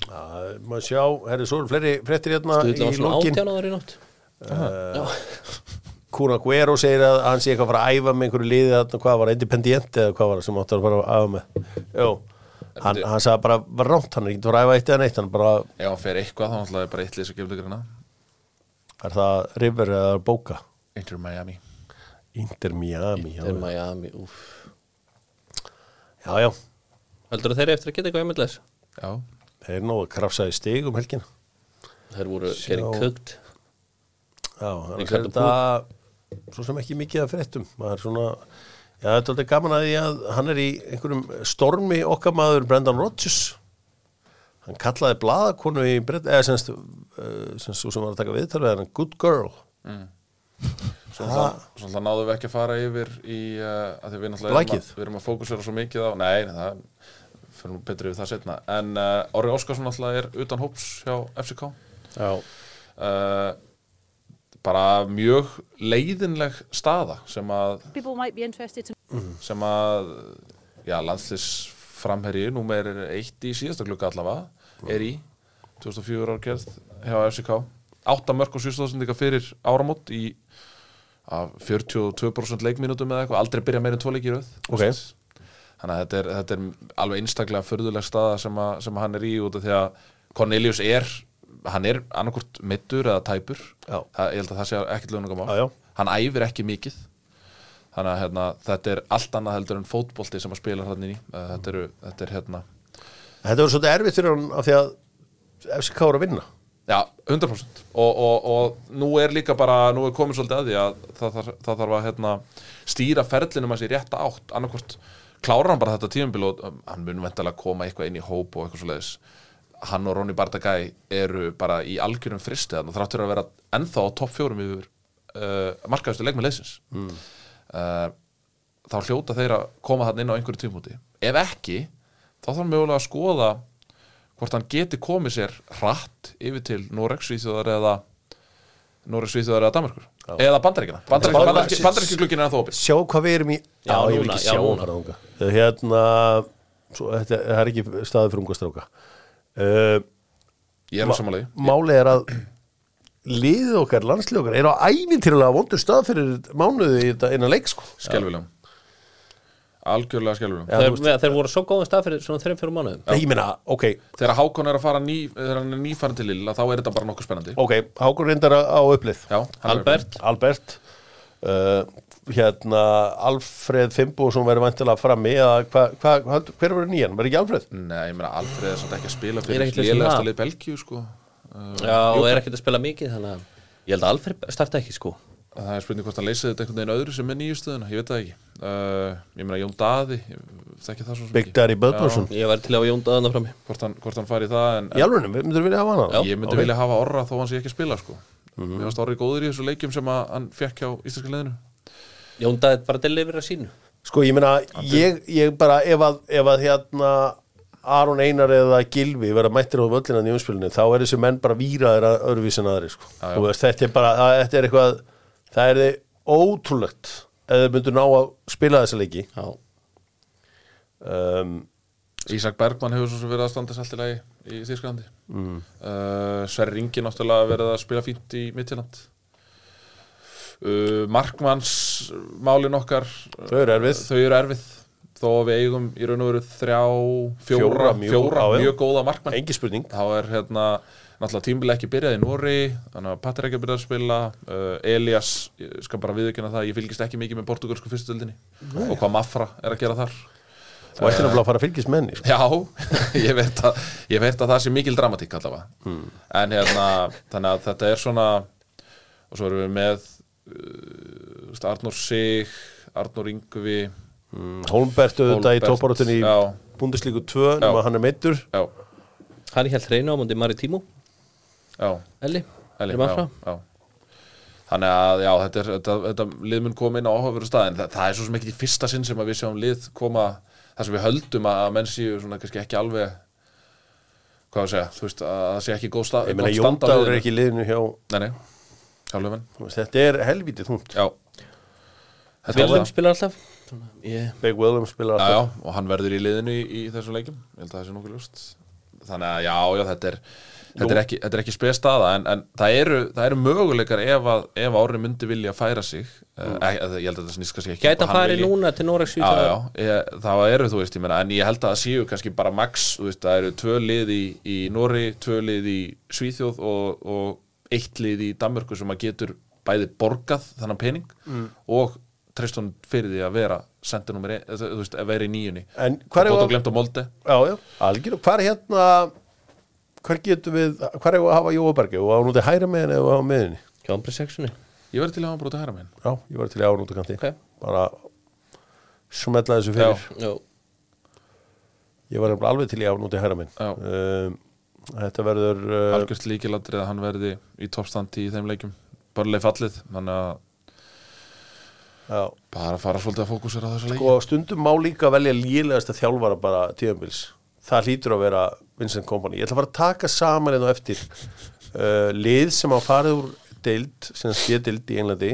Já, maður sjá, herri, svo eru fleiri fréttir hérna Stuðla var í svona lokin. átján áður í nótt Já, Kuna Guero segir að hann sé eitthvað að fara að æfa með einhverju liði þarna, hvað var, independent eða hvað var það sem átti að fara að æfa með Jó, hann, hann sagði bara var rámt, hann er ekki að fara að æfa eitt eða neitt hann bara, Ef hann fer eitthvað þá náttúrulega er bara eitt lið sem gefur greina er það River eða Boca? Inter Miami Inter Miami, Inter Miami, úff já, já, já Heldur þeir eru eftir að geta eitthvað emilis? Já, þeir er nóg að krafsa í stig um helgina Þeir voru getting cooked Já, þannig Ricardo er þetta svo sem ekki mikið að fréttum maður er svona, já, þetta er alltaf gaman að því að hann er í einhverjum stormi okkar maður Brendan Rodgers hann kallaði blaðakonu í Bred, eða semst, uh, semst svo sem var að taka viðtal við hann, good girl svo náttúrulega náðum við ekki að fara yfir í uh, að því við náttúrulega erum Blakið. að, við erum að fókusera svo mikið á Nei, það fyrir nú betri við það setna En uh, Orri Óskarsson náttúrulega er utan hóps hjá FCK Já uh, Bara mjög leiðinleg staða sem að People might be interested to sem að já, landslis framherji, númer eitt í síðasta klukka allavega, er í 2004 ára gerð hjá FCK 8 mörg og 7000 fyrir áramót í af 42% leikminutum eða eitthvað, aldrei byrja meira en tvo leikir auð Ok. þannig að þetta er, þetta er alveg einstaklega fyrðuleg staða sem, að, sem hann er í út af því að Cornelius er hann er annarkvort middur eða tæpur Já. það, ég held að það sé ekkert lögnum Já, já. hann æfir ekki mikið þannig að hérna, þetta er allt annað heldur en fótbolti sem að spila hann í Eh, þetta, eru, þetta er hérna Þetta var svolítið erfitt fyrir hann af því að FCK er að vinna Já, 100% og, og, og nú er líka bara, nú er komið svolítið að því að það, þarf- það þarf að hérna, stýra ferlinum hans í rétta átt annarkvort klárar hann bara þetta tímabil og um, hann mun vendalega koma eitthvað inn í hóp og eitthvað svoleiðis hann og Ronny Bardagæ eru bara í algjörum fristi þannig þráttur að vera ennþá á topp fjórum yfir uh, markaðustu leikmið leysins mm. þá hljóta þeir að koma hann inn á einhverju tímúti ef ekki, þá þarf mjögulega að skoða hvort hann geti komið sér hratt yfir til Noreg, Svíþjóðar eða Noreg, Svíþjóðar eða Danmarkur eða Bandaríkina Bandaríkina, Bandaríkin- Bandaríkina, Bandaríkina glukkin er ennþá opið Sjá hvað við erum í Já, ég vil núna, ekki já, sjá núna. hann þanga. Hérna svo, þetta, Það er ekki staðið fyrir unga stráka uh, ég er á samanlegi Máli er að liðið okkar, landslið okkar er á ævintýrlega vondu stað fyrir mánuði í þetta innan leik sko. skelvilegum algjörlega skelvilegum Já, þeir, þú veist. með, þeir voru svo góðan stað fyrir svona 3-4 mánuðum Nei, ég meina, ok, þegar Hákon er að fara ný, þegar hann er nýfærin til Lilla þá er þetta bara nokkuð spennandi ok, Hákur reyndar á upplið Já, hann er- Albert, Albert uh, hérna Alfred Fimbo sem verður vantilega frammi eða hva, hva, hva, hver verður nýjan, verður ekki Alfred? nei, ég meina Alfreð er samt ekki að spila Ég er fyrir ekkert viss um lélegasta það. lið Belgíu sko Uh, já, og er ekkert að spila mikið þannig að ég held að Alfred starta ekki sko það er spurning hvort hann leysið þetta einhvern veginn öðru sem er nýjustöðuna, ég veit það ekki uh, ég meina Jón Daði, ég þekki það svo sem Big ekki. Daddy Já, Böðbjörnsson ég væri til að jónda þarna frammi hvort hann, hvort hann fari í það en, í alveg, myndur vilja hafa hana? Já. ég myndi ok. Mhm. vilja hafa orra þó hann sé ekki að spila sko. mér varst orri góður í þessu leikjum sem að hann fekk hjá íslenska leðinu jónda er bara að delivera sínu sko ég meina, ég, ég bara ef að, ef að hérna Aron Einar eða Gilvi verða mættir á völlinan í umspilinu, þá er þessi menn bara víraðir að öðruvísin aðri sko. Já, já. Þú veist, þetta er bara, það- þetta er eitthvað það er þið ótrúlegt ef þau myndu ná að spila þessa leiki já, um, Ísak Bergmann hefur svo sem verið að standa sér allt í lagi í Þýrsklandi Mhm. mm. uh, Sverri Ringi náttúrulega verið að spila fínt í Midtjöland uh, Markmanns málin okkar eh, þau eru erfið þau eru erfið þó að við eigum í raun og veru þrjá, fjóra, Fjóra fjóra mjög- mjög, já, já. góða markmann engi spurning þá er hérna náttúrulega tímbil ekki byrjað í Nóri þannig að Patrik er byrjað að spila uh, Elias, ég skal bara viðurkenna það ég fylgist ekki mikið með portugalsku fyrstöldinni og hvað Mafra er að gera þar Þú Eh. ætti náttúrulega að fara að fylgjast með henni sko. Já, ég veit að, ég veit að það sé mikil dramatík allavega en hérna, þannig að þetta er svona og svo erum við með uh, Arnur Sig Arnur Yngvi Holmbert auðvitað í Hólmbert, tóparátunni í Mm. já. Bundeslíku 2 nema Já. hann er meittur já, hann er helt reyna á múndi Maritímo já, Elli, Elli, erum já, áfram já. Þannig að, já, þetta, er, þetta, þetta lið mun koma inn á áhafveru staðin það, það er svo sem ekki í fyrsta sinn sem að við sjáum lið koma þar sem við höldum að menn séu svona kannski ekki alveg hvað á að segja, þú veist, að það sé ekki góð stað Ég meina gott Jón stand á Dagur er liðinu. ekki í liðinu hjá Nei, nei, sjálfum enn þú veist, Þetta er helvítið þungt Já Þetta er Vilhelm það. spilar alltaf Þannig að ég- Big Willem spilar Já, já, alltaf og hann verður í liðinu í, í þessum leikum Ég held að það sé nokkuð ljóst Þannig að já, já, þetta er Þetta er ekki, þetta er ekki spes staða en, en það, eru, það eru möguleikar ef, að, ef Árni myndi vilja færa sig mm. Ég held að þetta snýst kannski ekki um gæti að hvað hann fara vilji. núna til Noregs Já, já, ég, það eru þú veist, ég meina En ég held að það séu kannski bara max þú veist, Það eru tvö lið í, í Nóri, tvö lið í Svíþjóð og, og eitt lið í Danmörku sem að getur bæði borgað þannan pening Mm. og treyst honum fyrir því að vera sendur nummer, þú veist, að vera í nýjunni En hvar er er að- það? Glemt á Molde Já, já, algjör Hvar hérna Hvar getum við Hvar er að hafa Jóabergi og á núti hæra með henni eða á miðinni hjá Ambri Sexunni Ég verði til að hafa brútið hæra minn Já, ég var til í ánúti kanti Ok. Bara smetla þessu fyrir Já. já, Ég var nefnilega alveg til í ánúti hæra minn Já. um, Þetta verður uh, Algjörst líkilandrið að hann verði í toppstandi í þeim leikum Börleif fallið, þannig að Já bara fara svolítið að fókusera á þessu leikum Sko, stundum má líka velja lélegasta þjálfara bara tíðanbils. Það hlýtur að vera Vincent Kompany. Ég ætla að fara að taka saman einn og eftir uh, lið sem hafa farið úr deild, sem sé deild í Englandi,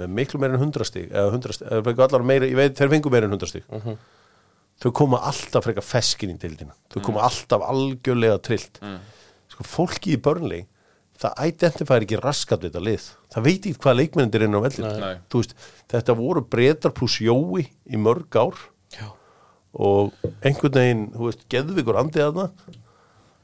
með miklu meira en 100 stig, eða 100 stig, eða fengu allar meira, ég veit, þeir fengu meira en 100 stig. Mm. Þau koma alltaf frekar feskin í deildina. Þau koma alltaf algjörlega trillt. sko, fólki í Burnley það identifæri ekki raskat við þetta lið það veit ekki hvað leikmennir er inn á Nei. Nei. vellin Þú veist, þetta voru breytar pluss jói í mörg ár Já. og einhvern veginn, þú veist, geðvikur andið þarna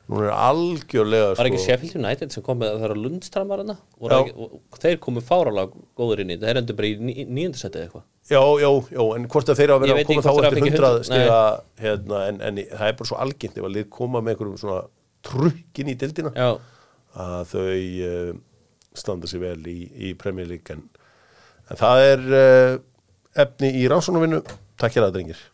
núna er algjörlega sko- Var ekki Sheffield United sem kom með það þeirra Lundstram var hana Já. ekki, og, og þeir komu fáralag góður inn í þetta þeir endur bara í ní, nýjöndarsætið eitthvað Já, já, já, en hvort að þeirra að vera Ég að veit koma ekki þá hvort þeir eftir hafa 100 fengið 100, stiga hérna, en, en það er bara svo algengt ef að lið koma með einhverjum svona trukkin í dildina Já, að þau uh, standa sér vel í, í Premier eh, League en, en það er uh, efni í rannsónavinnu Takk hjá það, drengir